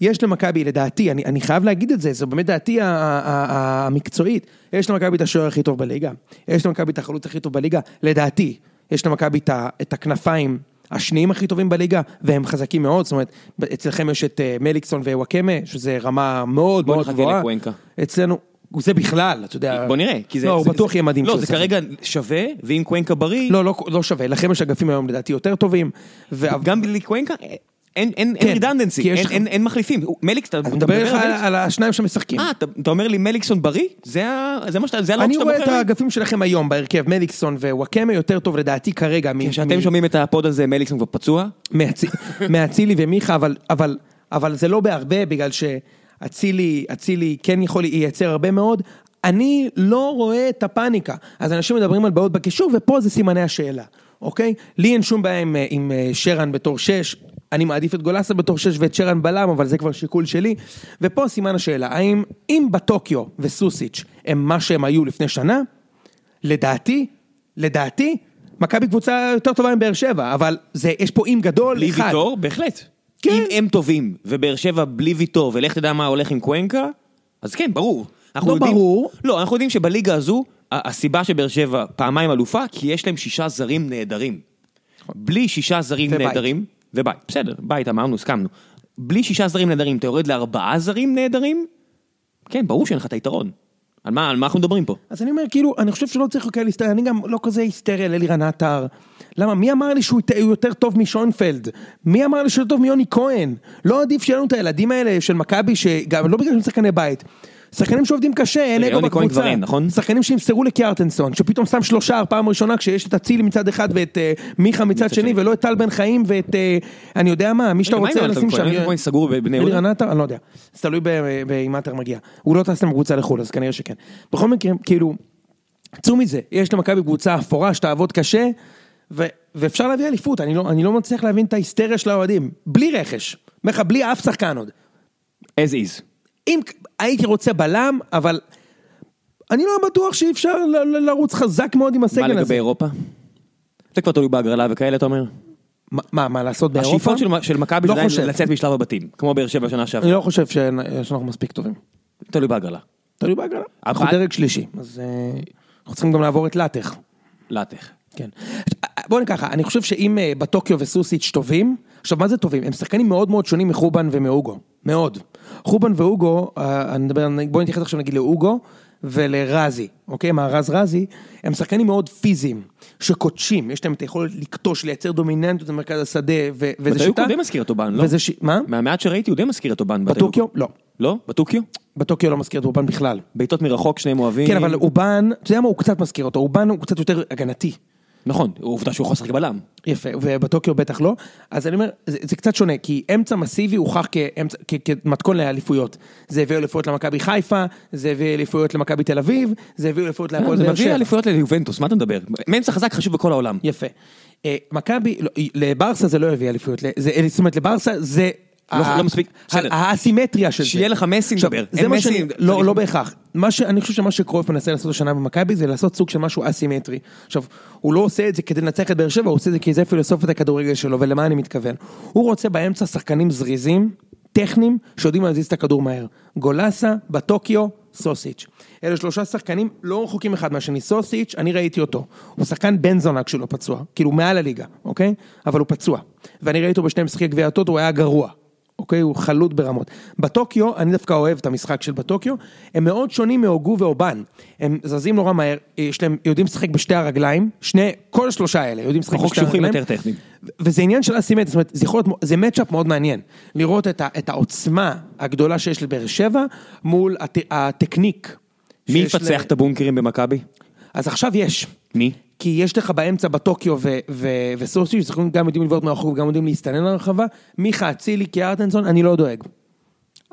יש למכבי, לדעתי, אני, אני חייב להגיד את זה, זו באמת דעתי ה- ה- ה- המקצועית, יש למכבי את השוער הכי טוב בליגה, יש למכבי את החלוץ הכי טוב בליגה, לדעתי, יש למכבי את, ה- את הכנפיים. השניים הכי טובים בליגה, והם חזקים מאוד, זאת אומרת, אצלכם יש את אה, מליקסון ווואקמה, שזה רמה מאוד
בוא
מאוד
נחכה
גבוהה.
לקוונקה.
אצלנו, זה בכלל, אתה יודע.
בוא נראה. כי זה-
לא, הוא
זה-
בטוח
זה-
יהיה מדהים.
לא,
כשהוא
זה
ישחק.
כרגע שווה, ואם קוונקה בריא,
לא, לא, לא שווה, לכם יש אגפים היום לדעתי יותר טובים. ו...
גם בלי קוונקה, אין- אין- אין
כן,
רידנדנסי,
כי יש
אין-
לך-
אין- אין מחליפים. הוא- מליקס, אתה אתה
אני מדבר איתך
על
על,
מליקס?
על השניים שמשחקים.
אה, אתה אתה אומר לי מליקסון בריא? זה ה- זה מה שאתה, זה הלוק
אני
שאתה
רואה את
בוחר לי?
האגפים שלכם היום בהרכב, מליקסון ווואקמה יותר טוב לדעתי כרגע. מ-
כשאתם
מ-
שומעים את הפוד הזה, מליקסון כבר פצוע?
מאצי- מאצילי ומיכה, אבל, אבל, אבל זה לא בהרבה, בגלל שאצילי אצילי כן יכול לייצר הרבה מאוד. אני לא רואה את הפאניקה. אז אנשים מדברים על בעיות בקישור, ופה זה סימני השאלה, אוקיי? לי אין שום בעיה עם, אה, עם אה, שרן בתור שש. אני מעדיף את גולסה בתור שש ואת שרן בלם, אבל זה כבר שיקול שלי. ופה סימן השאלה, האם אם בטוקיו וסוסיץ' הם מה שהם היו לפני שנה, לדעתי, לדעתי, מכבי קבוצה יותר טובה מבאר שבע, אבל זה, יש פה אים גדול
בלי
אחד.
ויטור? בהחלט.
כן.
אם הם טובים, ובאר שבע בלי ויטור, ולך תדע מה הולך עם קוונקה, אז כן, ברור. אנחנו
לא
יודעים-
ברור.
לא, אנחנו יודעים שבליגה הזו, ה- הסיבה שבאר שבע פעמיים אלופה, כי יש להם שישה זרים נהדרים. בלי שישה זרים
ובית.
נהדרים, ובית, בסדר, בית אמרנו, הסכמנו. בלי שישה זרים נהדרים, אתה יורד לארבעה זרים נהדרים? כן, ברור שאין לך את היתרון. על מה על מה אנחנו מדברים פה?
אז אני אומר, כאילו, אני חושב שלא צריך כאלה היסטריה, אני גם לא כזה היסטריה לאלירן עטר. למה, מי אמר לי שהוא ית- הוא יותר טוב משוינפלד? מי אמר לי שהוא יותר טוב מיוני כהן? לא עדיף שיהיה לנו את הילדים האלה של מכבי, שגם לא בגלל שהם שחקני בית. שחקנים שעובדים קשה, אין
רגע,
אגו
יוני כהן
בקבוצה.
כבר אין, נכון?
שחקנים שימסרו לקיארטנסון, שפתאום שם שלושה פעם ראשונה כשיש את אצילי מצד אחד ואת אה, מיכה מצד שני,
שני.
ולא את טל בן חיים ואת, אה, אני יודע מה, מי שאתה
רגע, מה עם
רוצה
יונתן
לשים
כהן?
שם.
יונתן כהן סגור בבני יהודה?
אלירן עטר, אני לא יודע. זה תלוי ב- ב- אם עטר מגיע. הוא לא טס להם קבוצה לחו"ל, אז כנראה שכן. בכל מקרה, כאילו, צאו מזה, יש למכבי קבוצה אפורה שתעבוד קשה, ו- ואפשר להביא אליפות, אני לא, אני לא מצליח להבין את ההיסטריה של האוהדים. בלי רכש. אומר לך, בלי אף שחקן עוד.
as is.
אם הייתי רוצה בלם, אבל... אני לא בטוח שאי אפשר ל- ל- לרוץ חזק מאוד עם
מה
הסגל הזה.
לגבי אירופה? זה כבר תלוי בהגרלה וכאלה, אתה אומר?
מה- מה, מה לעשות באירופה?
השאיפות של- של מכבי
לא
זה עדיין
חושב.
לצאת משלב הבתים, כמו באר שבע שנה שעברה,
אני לא חושב שנ- שאנחנו מספיק טובים. אה.
תלוי בהגרלה.
תלוי בהגרלה. אנחנו
אבל-
דרג שלישי, אז אה, אנחנו צריכים גם לעבור את לטח.
לאטח.
כן. בואו ניקח, אני חושב שאם אה, בטוקיו וסוסיץ' טובים, עכשיו מה זה טובים? הם שחקנים מאוד מאוד שונים מחובן ומהוגו, מאוד. חובן והוגו, אה, אני מדבר, בואו נתייחס עכשיו נגיד להוגו ולרזי, אוקיי? מהרז רזי, הם שחקנים מאוד פיזיים, שקודשים, יש להם את היכולת לקטוש, לייצר דומיננטיות במרכז השדה, ו- וזה
בדיוק
שיטה.
הוא די מזכיר את אובן, לא?
וזה ש... מה?
מהמעט שראיתי הוא די מזכיר את אובן. בדיוק.
אה? בטוקיו? לא.
לא? בטוקיו?
בטוקיו לא מזכיר את אובן בכלל.
בעיטות מרחוק, שניהם אוהבים.
כן, אבל אובן, אתה יודע מה? הוא קצת מזכיר אותו, אובן הוא קצת יותר הגנתי.
נכון, עובדה שהוא יכול לשחק בלם.
יפה, ובטוקיו בטח לא. אז אני אומר, זה, זה קצת שונה, כי אמצע מסיבי הוכח כאמצע, כ, כמתכון לאליפויות. זה הביא אליפויות למכבי חיפה, זה הביא אליפויות למכבי תל אביב, זה הביא אליפויות להפועל
אה, זה
באר
מביא
שבע.
אליפויות ליובנטוס, מה אתה מדבר? ממצא חזק חשוב בכל העולם.
יפה. אה, מכבי, לא, היא- לברסה זה לא הביא אליפויות, ל- זה- זאת אומרת לברסה זה
לא- לא מספיק, בסדר.
האסימטריה של זה.
שיהיה לך מסי
עכשיו,
לדבר.
זה
אין
מה
מסי,
שאני,
צריך-
לא, לא בהכרח. מה ש... אני חושב שמה שקרויף מנסה לעשות השנה במכבי זה לעשות סוג של משהו אסימטרי. עכשיו, הוא לא עושה את זה כדי לנצח את באר שבע, הוא עושה את זה כי זה פילוסופיית הכדורגל שלו, ולמה אני מתכוון? הוא רוצה באמצע שחקנים זריזים, טכניים, שיודעים להזיז את הכדור מהר. גולסה, בטוקיו, סוסיץ'. אלה שלושה שחקנים לא רחוקים אחד מהשני. סוסיץ', אני ראיתי אותו. הוא שחקן בן זונה כשהוא לא פצוע, כאילו מעל הליגה, אוקיי? אבל הוא פצוע. ואני ראיתי אותו בשני משחקי גביע הטוטו, הוא היה גרוע. אוקיי? הוא חלוט ברמות. בטוקיו, אני דווקא אוהב את המשחק של בטוקיו, הם מאוד שונים מהוגו ואובן. הם זזים נורא מהר, יש להם, יודעים לשחק בשתי הרגליים, שני, כל השלושה האלה יודעים לשחק
פחות
בשתי
קשוחים,
הרגליים.
יותר טכניים.
ו- וזה עניין של אסימטר, זאת אומרת, זה יכול להיות, זה מצ'אפ מאוד מעניין. לראות את, ה, את העוצמה הגדולה שיש לבאר שבע מול הט, הטקניק.
מי
שיש ל-
יפצח את הבונקרים במכבי?
אז עכשיו יש.
מי?
כי יש לך באמצע בטוקיו ו- ו- וסוסי, ששחקנים גם יודעים לבעוט מהרחוב, גם יודעים להסתנן לרחבה, מיכה אצילי, קיארטנסון, אני לא דואג.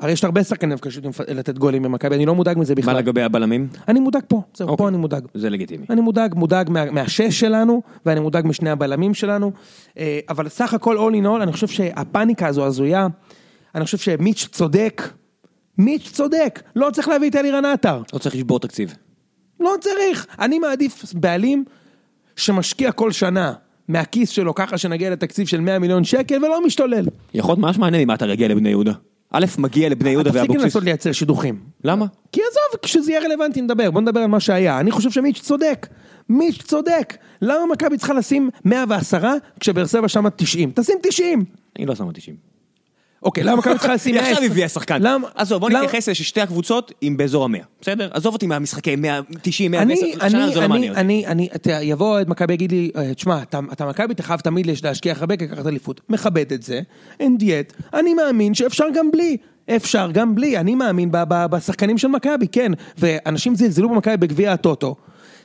הרי יש הרבה שחקנים דווקא שיודעים לפ- לתת גולים במכבי, אני לא מודאג מזה
מה
בכלל.
לגבי הבלמים?
אני מודאג פה, זהו,
אוקיי.
פה אני מודאג.
זה לגיטימי.
אני מודאג, מודאג מה, מהשש שלנו, ואני מודאג משני הבלמים שלנו, אה, אבל סך הכל all in all, אני חושב שהפאניקה הזו הזויה, אני חושב שמיץ' צודק, מיץ' צודק, לא צריך להביא את אלירן עטר.
לא צריך לשבור תקציב.
לא צריך. אני מעדיף בעלים שמשקיע כל שנה מהכיס שלו ככה שנגיע לתקציב של 100 מיליון שקל ולא משתולל.
יכול להיות ממש מעניין אם אתה רגיע לבני יהודה. א', מגיע לבני יהודה
תפסיק
ואבוקסיס.
לנסות לייצר שידוכים.
למה?
כי עזוב, כשזה יהיה רלוונטי נדבר, בוא נדבר על מה שהיה. אני חושב שמיץ' צודק. מיץ' צודק. למה מכבי צריכה לשים 110 כשבאר שבע שמה 90? תשים 90!
אני לא שם 90.
אוקיי, למה מכבי צריכה לשים
היא <laughs>
100?
עכשיו הביאה שחקן.
למה-
עזוב, בוא
למה-
נתייחס לזה ששתי הקבוצות עם באזור המאה. בסדר? עזוב אותי מהמשחקי 100, 90, 100,
אני,
110, שנה
אני,
זה לא
אני,
מעניין אותי.
אני, אני, אתה- יבוא אוהד מכבי יגיד לי, "אה, תשמע, אתה- אתה מכבי, אתה חייב תמיד לש- להשכיח הרבה כי לקחת אליפות. מכבד את זה, אין דיאט, אני מאמין שאפשר גם בלי. אפשר גם בלי, אני מאמין ב- ב- בשחקנים של מכבי, כן. ואנשים זלזלו במכבי בגביע הטוטו.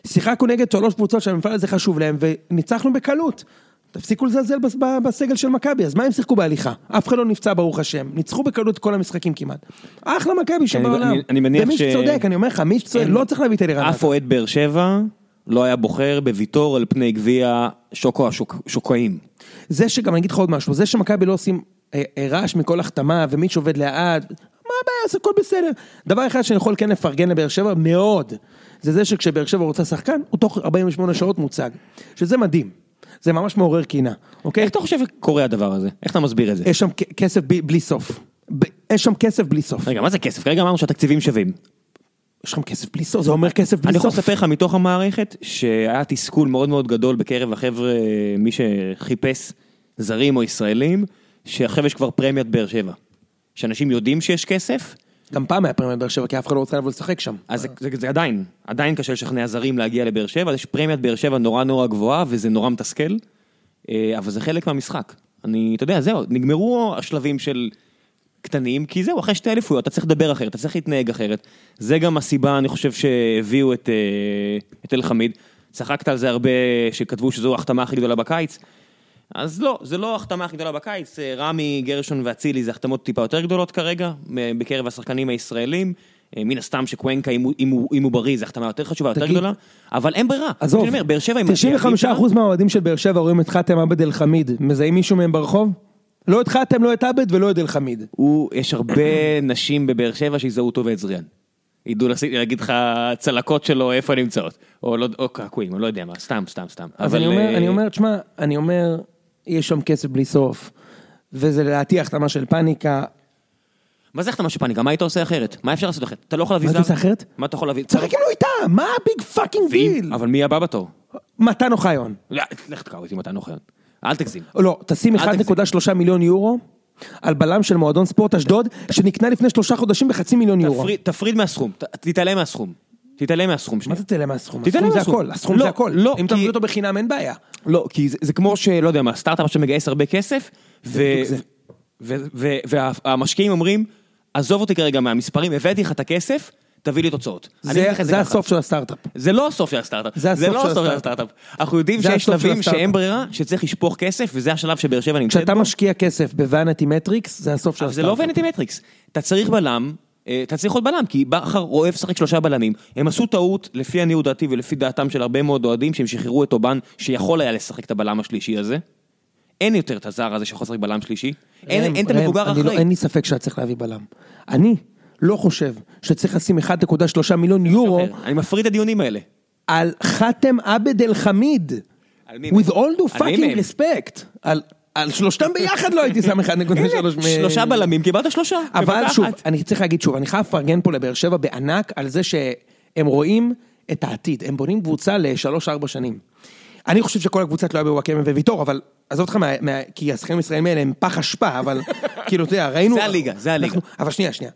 שיחקנו נגד שלוש קבוצות שהמפעל הזה חשוב להם, וניצחנו בקלות. תפסיקו לזלזל בס- ב- בסגל של מכבי, אז מה הם שיחקו בהליכה? אף אחד לא נפצע ברוך השם, ניצחו בקלות את כל המשחקים כמעט. אחלה מכבי שבעולם.
אני- אני מניח
ומי
ש-
שצודק, אני אומר לך, מי שצודק, לא צריך להביא את אלירן עטר.
אף אוהד באר שבע לא היה בוחר בוויטור על פני גביע שוקו השוק- שוקואים.
זה שגם אני אגיד לך עוד משהו, זה שמכבי לא עושים אה, אה, רעש מכל החתמה ומיץ' עובד לאט, מה הבעיה, זה הכל בסדר. דבר אחד שאני יכול כן לפרגן לבאר שבע מאוד, זה זה שכשבאר שבע רוצה שחקן, הוא תוך 48 שעות מוצג, שזה מדהים, זה ממש מעורר קינה, אוקיי?
איך אתה חושב שקורה הדבר הזה? איך אתה מסביר את זה?
יש שם כ- כסף ב- בלי סוף, ב- יש שם כסף בלי סוף,
רגע, מה זה כסף? כרגע אמרנו שהתקציבים שווים.
יש שם כסף בלי סוף, זה אומר כסף
אני
בלי
יכול
סוף.
לספר לך מתוך המערכת שהיה תסכול מאוד מאוד גדול בקרב החבר'ה, מי שחיפש זרים או ישראלים, שעכשיו יש כבר פרמיית באר שבע. שאנשים יודעים שיש כסף,
גם פעם היה פרמיית באר שבע, כי אף אחד לא רוצה לבוא לשחק שם.
אז זה, זה, זה עדיין, עדיין קשה לשכנע זרים להגיע לבאר שבע, אז יש פרמיית באר שבע נורא נורא גבוהה וזה נורא מתסכל, אה, אבל זה חלק מהמשחק. אני, אתה יודע, זהו, נגמרו השלבים של קטנים, כי זהו, אחרי שתי אליפויות אתה צריך לדבר אחרת, אתה צריך להתנהג אחרת. זה גם הסיבה, אני חושב, שהביאו את, אה, את אלחמיד. צחקת על זה הרבה, שכתבו שזו ההחתמה הכי גדולה בקיץ. אז לא, זה לא ההחתמה הכי גדולה בקיץ, אה, רמי, גרשון ואצילי זה החתמות טיפה יותר גדולות כרגע, מ- בקרב השחקנים הישראלים. אה, מן הסתם שקוונקה, אם הוא, אם הוא, אם הוא בריא, זו החתמה יותר חשובה, יותר
תגיד-
גדולה, אבל אין ברירה.
עזוב,
אני אומר, באר שבע עם התארים שלה-
95% מהאוהדים של באר שבע רואים את חאתם עבד אל חמיד, מזהים מישהו מהם ברחוב? לא את חאתם, לא את עבד ולא את אל חמיד.
הוא, יש הרבה <clears throat> נשים בבאר שבע שיזהו אותו ואת זריאן. ידעו לשים- להגיד לך צלקות שלו, איפה הן נמצאות. או, לא, או קעקועים, או לא יודע מה, סתם, סתם, סתם.
אז אני
אה,
אומר, אני אומר, תשמע, אני אומר, יש שם כסף בלי סוף, וזה לדעתי החתמה של פאניקה.
מה זה החתמה של פאניקה? מה היית עושה אחרת? מה אפשר לעשות אחרת? אתה לא יכול להביא
מה
זר?
אתה עושה אחרת?
מה אתה יכול להביא?
תשחק כאילו איתה, מה הביג פאקינג דיל?
אבל מי הבא בתור?
מתן אוחיון.
לא, לך תקרא אותי מתן אוחיון. אל תגזים.
לא, תשים
אל תגזים.
1.3 מיליון יורו על בלם של מועדון ספורט אשדוד, שנקנה לפני שלושה חודשים בחצי מיליון יורו.
תפריד- תפריד מהסכום, ת- תתעלם מהסכום. תתעלם מהסכום שלי.
מה זה תתעלם מהסכום?
תתעלם
הסכום זה
מהסכום.
הכל, הסכום
לא,
זה הכל.
לא,
אם
כי-
תביא אותו בחינם אין בעיה.
לא, כי זה, זה כמו שלא יודע מה, סטארט-אפ שמגייס הרבה כסף, ו-
בדיוק זה.
ו- ו- והמשקיעים אומרים, עזוב אותי כרגע מהמספרים, הבאתי לך את הכסף, תביא לי תוצאות. אני אגיד לך
זה
את
זה
ככה.
הסוף של הסטארט-אפ.
זה לא הסוף של הסטארט-אפ,
זה הסוף
לא
של
הסוף של
הסטארט-אפ.
הסטארט-אפ. אנחנו יודעים
זה
שיש
הסוף של
שלבים שאין
הסטארט-אפ.
ברירה, שצריך לשפוך כסף, וזה השלב שבאר שבע נמצאת
כשאתה
בו.
משקיע כסף בוואנטי מטריקס, זה הסוף של
אבל זה לא
הסטארט-אפ.
ונטי מטריקס. אתה צריך בלם, אה, אתה צריך עוד בלם, כי בכר אוהב לשחק שלושה בלמים. הם עשו טעות, לפי עניות דעתי ולפי דעתם של הרבה מאוד אוהדים, שהם שחררו את אובן, שיכול היה לשחק את הבלם השלישי הזה. אין יותר את הזר הזה שיכול לשחק בלם שלישי, אין,
ראם,
אין, את
ראם,
המבוגר
אני לא-
האחראי.
אין לי ספק שהיה צריך להביא בלם. אני לא חושב שצריך לשים 1.3 מיליון יורו
אני מפריד את הדיונים האלה.
על חאתם עבד אל חמיד.
על מי מהם?
With all
על
due
מי
fucking
מהם?
respect. על- על שלושתם ביחד לא
<laughs>
הייתי שם 1.3 מ...
שלושה בלמים, קיבלת שלושה.
אבל
בבת
שוב,
אחת.
אני צריך להגיד שוב, אני חייב לפרגן פה לבאר שבע בענק על זה שהם רואים את העתיד, הם בונים קבוצה לשלוש-ארבע שנים. אני חושב שכל הקבוצה תלויה בוואקמה וויטור, אבל עזוב אותך, מה, מה, כי השחקנים הישראלים האלה הם פח אשפה, אבל <laughs> כאילו, אתה יודע, ראינו...
זה הליגה, זה הליגה.
אנחנו- אבל שנייה, שנייה.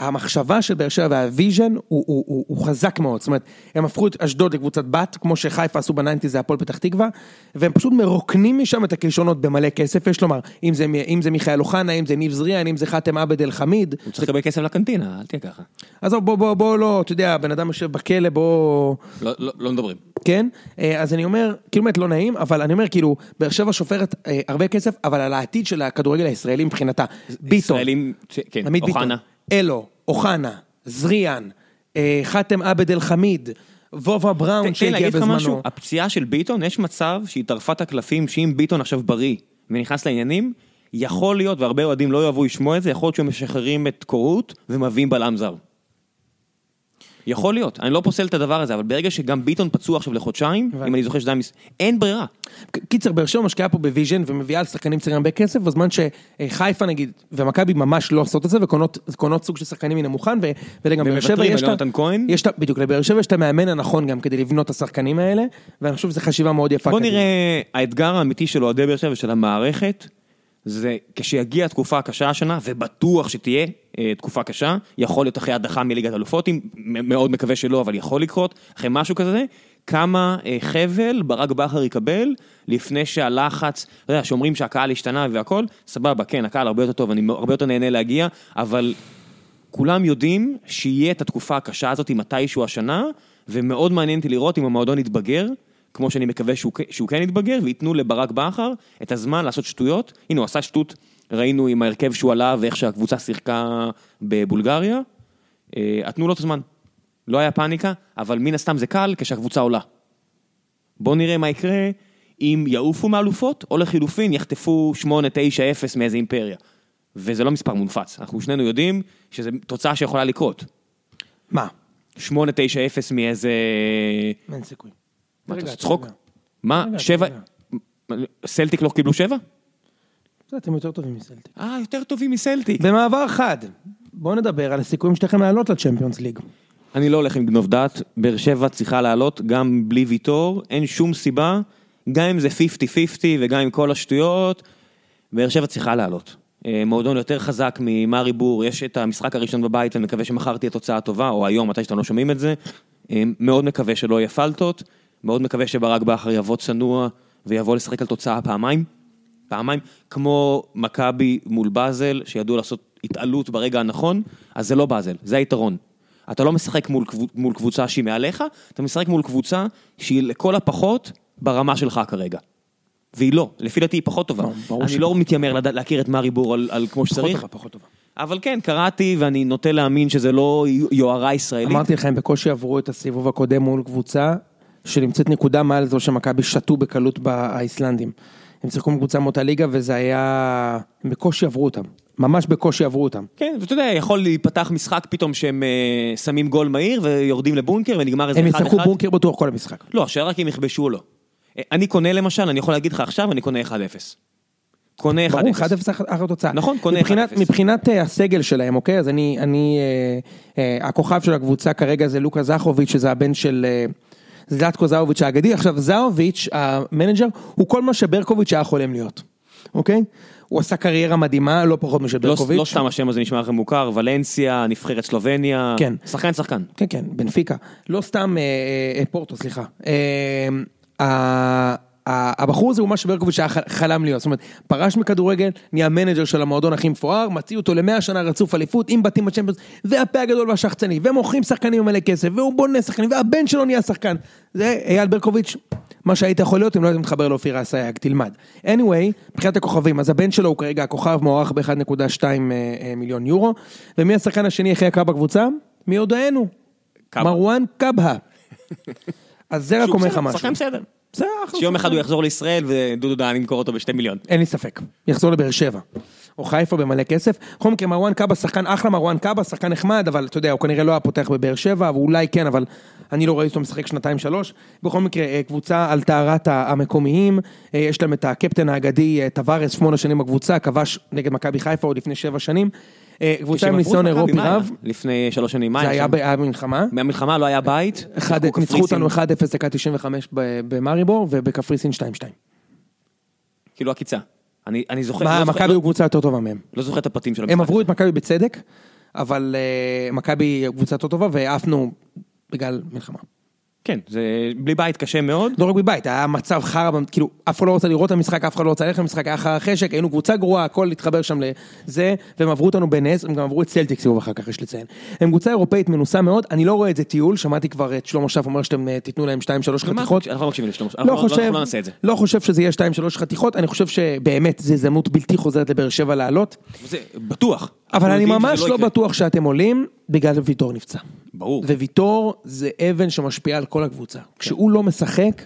המחשבה של באר שבע והוויז'ן הוא, הוא, הוא, הוא חזק מאוד, זאת אומרת, הם הפכו את אשדוד לקבוצת בת, כמו שחיפה עשו בניינטיז זה הפועל פתח תקווה, והם פשוט מרוקנים משם את הכישרונות במלא כסף, יש לומר, אם זה, מ- אם זה מיכאל אוחנה, אם זה ניב זריאן, אם זה חאתם עבד אל חמיד,
הוא צריך לקבל כסף לקנטינה, אל תהיה ככה.
עזוב, בוא, בוא, בוא, לא, אתה יודע, בן אדם יושב בכלא, בוא...
לא- לא לא מדברים.
כן? אה, אז אני אומר, כאילו באמת לא נעים, אבל אני אומר, כאילו, באר שבע שופרת אה, הרבה כסף, אבל על העתיד של הכדורגל הישראלי מבחינתה. ביטון,
ישראלים, ש- כן,
עמית ביטון,
אוחנה.
אלו, אוחנה, זריאן, אה, חאתם עבד אל חמיד, וובה בראון
תן לי
שהגיע
להגיד לך משהו,
כן בזמנו.
הפציעה של ביטון, יש מצב שהיא טרפה את הקלפים, שאם ביטון עכשיו בריא ונכנס לעניינים, יכול להיות, והרבה אוהדים לא יאהבו לשמוע את זה, יכול להיות שהם משחררים את קורות ומביאים בלם זר. יכול להיות, אני לא פוסל את הדבר הזה, אבל ברגע שגם ביטון פצוע עכשיו לחודשיים,
הבנתי.
אם אני זוכר שזה היה מס... אין ברירה.
ק- קיצר, באר שבע משקיעה פה בוויז'ן ומביאה על שחקנים צעירים הרבה כסף, בזמן שחיפה נגיד, ומכבי ממש לא עושות את זה, וקונות קונות סוג של שחקנים מן המוכן, ו- וגם באר שבע
ומוותרים
יש
על יונתן כהן?
יש את ה- בדיוק, לבאר שבע יש את המאמן הנכון גם כדי לבנות את השחקנים האלה, ואני חושב שזו חשיבה מאוד יפה.
בוא
קדימה.
נראה, האתגר האמיתי של אוהדי באר שבע ושל המערכת, זה כשיגיע התקופה הקשה השנה, ובטוח שתהיה אה, תקופה קשה, יכול להיות אחרי הדחה מליגת אלופות, אם מ- מאוד מקווה שלא, אבל יכול לקרות, אחרי משהו כזה, כמה אה, חבל ברק בכר יקבל לפני שהלחץ, אתה יודע, שאומרים שהקהל השתנה והכל, סבבה, כן, הקהל הרבה יותר טוב, אני הרבה יותר נהנה להגיע, אבל כולם יודעים שיהיה את התקופה הקשה הזאת מתישהו השנה, ומאוד מעניין אותי לראות אם המועדון יתבגר, כמו שאני מקווה שהוא, כ- שהוא כן יתבגר, וייתנו לברק בכר את הזמן לעשות שטויות. הנה, הוא עשה שטות, ראינו עם ההרכב שהוא עלה ואיך שהקבוצה שיחקה בבולגריה. אה, תנו לו את הזמן. לא היה פאניקה, אבל מן הסתם זה קל כשהקבוצה עולה. בואו נראה מה יקרה אם יעופו מאלופות, או לחילופין יחטפו 8-9-0 מאיזה אימפריה. וזה לא מספר מונפץ, אנחנו שנינו יודעים שזו תוצאה שיכולה לקרות.
מה?
8-9-0 מאיזה...
אין סיכוי.
מה, אתה
רגע,
עושה צחוק?
רגע.
מה,
רגע,
שבע...
רגע.
סלטיק לא קיבלו שבע?
בסדר, אתם יותר טובים מסלטיק.
אה, יותר טובים מסלטיק.
במעבר חד, בואו נדבר על הסיכויים שלכם לעלות לצ'מפיונס ליג.
אני לא הולך עם גנוב דעת, באר שבע צריכה לעלות גם בלי ויטור, אין שום סיבה, גם אם זה 50-50 וגם עם כל השטויות, באר שבע צריכה לעלות. אה, מועדון יותר חזק ממארי בור, יש את המשחק הראשון בבית, ואני מקווה שמחר תהיה תוצאה טובה, או היום, מתי שאתם לא שומעים את זה. אה, מאוד מקווה שלא יהיה פלטות, מאוד מקווה שברק בכר יבוא צנוע ויבוא לשחק על תוצאה פעמיים. פעמיים, כמו מכבי מול באזל, שידעו לעשות התעלות ברגע הנכון, אז זה לא באזל, זה היתרון. אתה לא משחק מול, קבוצ- מול קבוצה שהיא מעליך, אתה משחק מול קבוצה שהיא לכל הפחות ברמה שלך כרגע. והיא לא, לפי דעתי היא פחות טובה.
לא, ברור
אני
שהיא
לא מתיימר לדע- להכיר את מארי בור על, על כמו
פחות
שצריך,
טובה, פחות טובה.
אבל כן, קראתי ואני נוטה להאמין שזה לא יוהרה ישראלית.
אמרתי לכם, בקושי עברו את הסיבוב הקודם מול קבוצה שנמצאת נקודה מעל זו שמכבי שתו בקלות באיסלנדים. הם שיחקו עם קבוצה מאותה ליגה וזה היה... הם בקושי עברו אותם. ממש בקושי עברו אותם.
כן, ואתה יודע, יכול להיפתח משחק פתאום שהם אה, שמים גול מהיר ויורדים לבונקר ונגמר איזה
הם
אחד אחד.
יצטרכו בונקר בטוח כל המשחק.
לא, השאלה רק אם יכבשו או לא. אה, אני קונה למשל, אני יכול להגיד לך עכשיו, אני קונה 1-0. קונה 1-0.
ברור, 1-0 אחר התוצאה.
נכון, קונה
מבחינת,
1-0.
מבחינת אה, הסגל שלהם, אוקיי? אז אני, אני אה, אה, הכוכב של הקבוצה כרגע זה לוקה זכוביץ', שזה הבן של אה, זלטקו זאוביץ' האגדי. עכשיו, זאוביץ', המנג'ר, הוא כל מה שברקוביץ' היה חולם להיות, אוקיי? הוא עשה קריירה מדהימה, לא פחות משל
לא,
ברקוביץ'.
לא סתם השם הזה נשמע לכם מוכר, ולנסיה, נבחרת סלובניה.
כן.
שחקן שחקן.
כן, כן, בנפיקה. לא סתם אה, אה, אה, פורטו, סליחה. אה, ה- ה- הבחור הזה הוא מה שברקוביץ' היה ח- חלם להיות. זאת אומרת, פרש מכדורגל, נהיה המנג'ר של המועדון הכי מפואר, מציעו אותו למאה שנה רצוף אליפות, עם בתים בצ'מפיונס, והפה הגדול והשחצני, ומוכרים שחקנים מלא כסף, והוא בונה שחקנים, והבן שלו נהיה שחקן. זה אייל ברקוביץ'. מה שהיית יכול להיות אם לא היית מתחבר לאופירה אסייג, תלמד. anyway, מבחינת הכוכבים, אז הבן שלו הוא כרגע הכוכב מוערך ב-1.2 אה, מיליון יורו, ומי השחקן השני הכי יקר בקבוצה? מי הודענו?
קבהא.
מרואן קבהא. אז זה רק
שהוא
אומר לך
בסדר,
משהו.
שחקן בסדר.
בסדר, אחלה.
שיום אחד הוא יחזור לישראל ודודו דהן ימכור אותו בשתי מיליון.
אין לי ספק, יחזור לבאר שבע. או חיפה במלא כסף. בכל מקרה, מרואן קאבה שחקן אחלה, מרואן קאבה שחקן נחמד, אבל אתה יודע, הוא כנראה לא היה פותח בבאר שבע, ואולי כן, אבל אני לא ראיתי אותו משחק שנתיים שלוש. בכל מקרה, אה, קבוצה על טהרת ה- המקומיים, אה, יש להם את הקפטן האגדי אה, טווארס, שמונה שנים בקבוצה, כבש נגד מכבי חיפה עוד לפני שבע שנים. אה, קבוצה עם
כשהם עברו את
ניסיון
מכבי,
אירופי
מה היה?
רב,
לפני שלוש שנים, מה
זה
היה
היה
שם?
ב- היה במלחמה.
מהמלחמה לא היה בית.
אחד-
שיחקו
ניצחו
קפריסין.
אותנו 1-0 דקה 95 ב- במאריבור, ובקפריסין 2-2.
כאילו עקיצה. אני אני זוכר,
מה,
לא זוכר-
מכבי הוא קבוצה יותר טובה מהם.
לא זוכר את הפרטים של
הם
המשחק.
עברו את מכבי בצדק, אבל אה, מכבי קבוצה יותר טובה, ועפנו בגלל מלחמה.
כן, זה בלי בית קשה מאוד.
לא רק בבית, היה מצב חרא, כאילו, אף אחד לא רצה לראות את המשחק, אף אחד לא רצה ללכת למשחק, היה חרא חשק, היינו קבוצה גרועה, הכל התחבר שם לזה, והם עברו אותנו בנס, הם גם עברו את סלטיק סיבוב אחר כך, יש לציין. הם קבוצה אירופאית מנוסה מאוד, אני לא רואה את זה טיול, שמעתי כבר את שלמה שף אומר שאתם אה, תיתנו להם 2-3
מה,
חתיכות.
אנחנו לא מקשיבים לשלום,
לא
אנחנו לא-
חושב,
אנחנו לא נעשה את זה.
לא חושב שזה יהיה 2-3 חתיכות, אני חושב שבאמת זו הזדמנות בלתי חוזרת לבאר שבע לעלות.
זה בטוח. אנחנו
אבל אני
יודעים שזה
ממש לא
יקרה.
בטוח שאתם עולים בגלל ויטור נפצע.
ברור.
וויטור זה אבן שמשפיעה על כל הקבוצה. כשהוא לא משחק,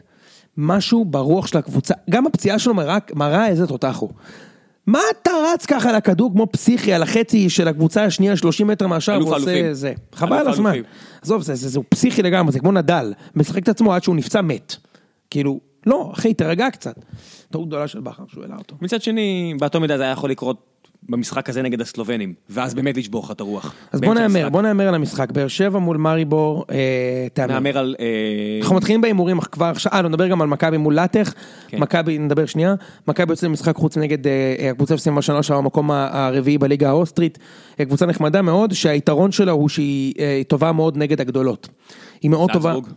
משהו ברוח של הקבוצה, גם הפציעה שלו מראה, מראה איזה תותח הוא. מה אתה רץ ככה על הכדור כמו פסיכי על החצי של הקבוצה השנייה 30 מטר מהשאר
אלוף האלופים.
ועושה זה? חבל
אלוף
על הזמן.
האלופים.
עזוב, זה, זה, זה, הוא פסיכי לגמרי, זה כמו נדל. משחק את עצמו עד שהוא נפצע מת. כאילו, לא, אחי, תרגע קצת. טעות גדולה של בכר שהוא העלה אותו.
מצד שני, באותו מידה זה היה יכול לקרות במשחק הזה נגד הסלובנים, ואז באמת לשבור לך את הרוח.
אז בוא
באמצע
נהמר,
המשחק.
בוא נהמר על המשחק. באר שבע מול מאריבור, אה, תהמר.
נהמר על... אה,
אנחנו מתחילים בהימורים אך כבר עכשיו, אה, לא, נדבר גם על מכבי מול לטח,
כן.
מכבי, נדבר שנייה, מכבי יוצאת למשחק חוץ נגד אה, אה, הקבוצה שסיימה שנה שעברה במקום ה- הרביעי בליגה האוסטרית, אה, קבוצה נחמדה מאוד, שהיתרון שלה הוא שהיא אה, טובה מאוד נגד הגדולות. היא מאוד טובה.
זלצבורג.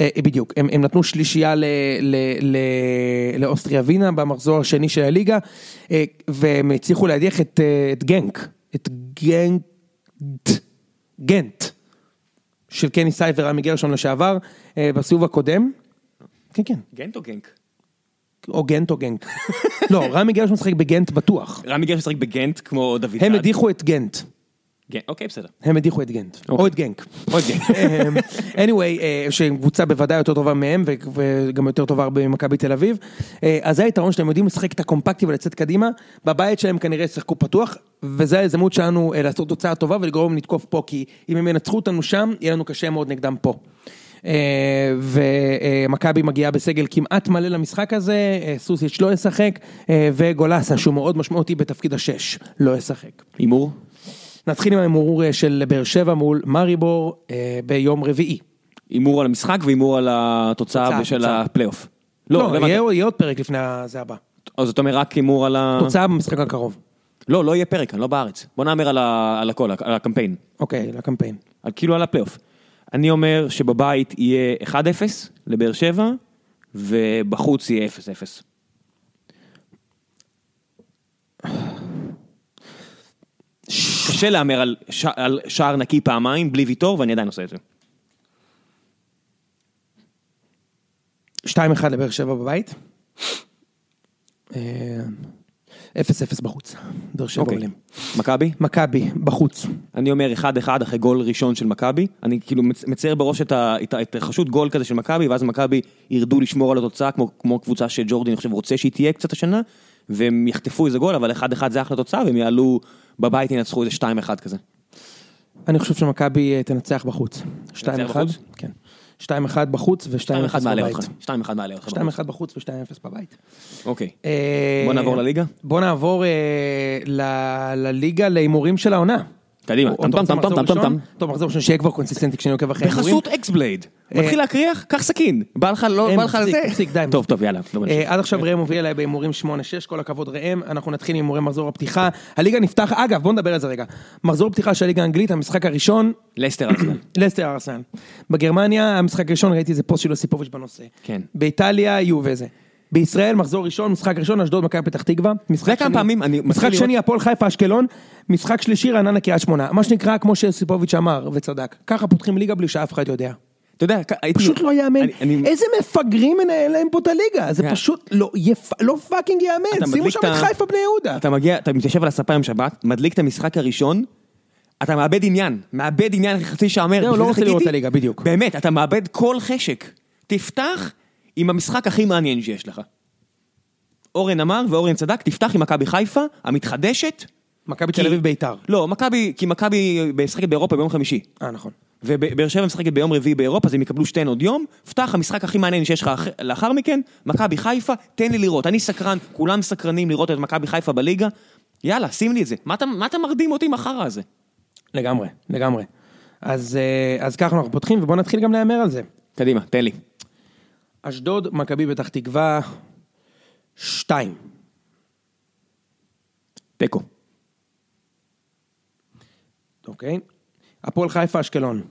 אה, אה, בדיוק, הם, הם נתנו שלישייה ל, ל, ל, לאוסטריה ווינה במחזור השני של הליגה, אה, והם הצליחו להדיח את, אה, את גנק, את גנט, גנט, של קני סייף ורמי גרשון לשעבר, אה, בסיבוב הקודם. כן, כן,
גנט או גנק?
או גנט או גנק. לא, רמי גרשון משחק בגנט בטוח.
רמי גרש משחק בגנט כמו דוד
הם
סעד.
הדיחו את גנט,
גנ- אוקיי, בסדר.
הם הדיחו את גנט, או את גנק.
עוד גנט.
<laughs> אמ, anyway, אה, שהם קבוצה בוודאי יותר טובה מהם, ו- וגם יותר טובה הרבה ממכבי תל אביב. אה, אז זה היתרון שלהם, יודעים לשחק את הקומפקטי ולצאת קדימה. בבית שלהם כנראה ישחקו פתוח, וזו ההזדמנות שלנו אה, לעשות תוצאה טובה ולגרום להם לתקוף פה, כי אם הם ינצחו אותנו שם, יהיה לנו קשה מאוד נגדם פה. אה, ומכבי מגיעה בסגל כמעט מלא למשחק הזה, אה, סוסיץ' לא ישחק, אה, וגולסה, שהוא מאוד משמעותי בתפקיד השש, לא ישחק.
הימור?
נתחיל עם ההימור אה, של באר שבע מול מאריבור אה, ביום רביעי.
הימור על המשחק והימור על
תוצאה,
התוצאה של
תוצאה.
הפלייאוף.
לא,
הבנתי.
יהיה יהיה עוד פרק לפני זה הבא.
או זאת אומרת רק הימור על ה...
תוצאה במשחק הקרוב.
לא, לא יהיה פרק, אני לא בארץ. בוא נאמר על ה- על הכל, על הקמפיין.
אוקיי, לקמפיין.
על- כאילו על הפלייאוף. אני אומר שבבית יהיה 1-0 לבאר שבע, ובחוץ יהיה 0-0. קשה להמר על, ש... על שער נקי פעמיים בלי ויטור, ואני עדיין עושה את זה.
2-1 לבאר שבע בבית. אה, 0-0 בחוץ. באר שבע
אוקיי.
עולים.
מכבי?
מכבי, בחוץ.
אני אומר 1-1 אחרי גול ראשון של מכבי, אני כאילו מצ- מצייר בראש את ה- את ה- את החשות גול כזה של מכבי, ואז מכבי ירדו לשמור על התוצאה כמו, כמו קבוצה שג'ורדי אני חושב רוצה שהיא תהיה קצת השנה, והם יחטפו איזה גול, אבל 1-1 זה אחלה תוצאה, והם יעלו בבית ינצחו איזה 2-1 כזה.
אני חושב שמכבי אה, תנצח בחוץ. 2-1.
בחוץ?
כן. 2-1 בחוץ
2-1
ו-2-1
מעלה
בבית.
אותך, 2-1 מעלה אותך.
2-1 בחוץ ו-2-0 בבית.
אוקיי.
אה,
בוא נעבור לליגה?
בוא נעבור אה, ל- לליגה להימורים של העונה.
קדימה, טם טם טם טם טם טם טם.
טוב, מחזור ראשון שיהיה כבר קונסיסטנטי כשאני עוקב אחרי ההימורים.
בחסות אקסבלייד, אה, מתחיל להקריח, קח סכין, בא לך לא,
אין,
בא לך
תפסיק,
זה.
תפסיק, די.
טוב, טוב, יאללה. לא
אה,
נמשיך.
עד עכשיו ראם הוביל אליי בהימורים 8-6, כל הכבוד ראם, אנחנו נתחיל עם הימורי מחזור הפתיחה. הליגה נפתח, אגב, בוא נדבר על זה רגע. מחזור פתיחה של הליגה האנגלית, המשחק הראשון,
לסטר ארסנל.
לסטר ארסנל. בגרמניה, המשחק הראשון, ראיתי איזה פוסט של יוסיפוביץ' בנושא.
כן.
באיטליה, יובה זה. בישראל, מחזור ראשון, משחק ראשון, אשדוד, מכבי פתח תקווה. משחק
זה כמה
שני-
פעמים, אני מתחיל
משחק
לראות-
שני, הפועל חיפה, אשקלון. משחק שלישי, רעננה, קריית שמונה. מה שנקרא, כמו שיוסיפוביץ' אמר, וצדק. ככה פותחים ליגה בלי שאף אחד יודע.
אתה יודע, הייתי...
פשוט לא ייאמן.
אני- אני-
איזה מפגרים מנהל להם פה את הליגה? זה
כן.
פשוט לא יפ- לא פאקינג
אתה
ייאמן. שימו
מדליק
שם
את
את
ה-
חיפה בני יהודה.
אתה מגיע, אתה מתיישב על הספה עם שבת, מדליק את המשחק הראשון, אתה מאבד עניין, מאבד עניין אחרי חצי שעה מר.
זהו,
בשביל
לא
זה
רוצה לראות
חיכיתי.
את הליגה, בדיוק.
באמת, אתה מאבד כל חשק. תפתח, עם המשחק הכי מעניין שיש לך. אורן אמר, ואורן צדק, תפתח עם מכבי חיפה, המתחדשת.
מכבי תל אביב בית"ר.
לא, מכבי, כי מכבי משחקת באירופה ביום חמישי.
אה, נכון.
ובאר שבע משחקת ביום רביעי באירופה, אז הם יקבלו שתיהן עוד יום. פתח המשחק הכי מעניין שיש לך אח- לאחר מכן, מכבי חיפה, תן לי לראות. אני סקרן, כולם סקרנים לראות את מכבי חיפה בליגה. יאללה, שים לי את זה. מה אתה, מה אתה מרדים אותי עם החרא הזה?
לגמרי, לגמרי. אז, אה, אז ככה אנחנו פותחים, ובואו נתחיל גם להמר על זה.
קדימה, תן לי.
אשדוד, מכבי פתח תקווה, שתיים.
תיקו.
אוקיי. הפועל חיפה, אשקלון.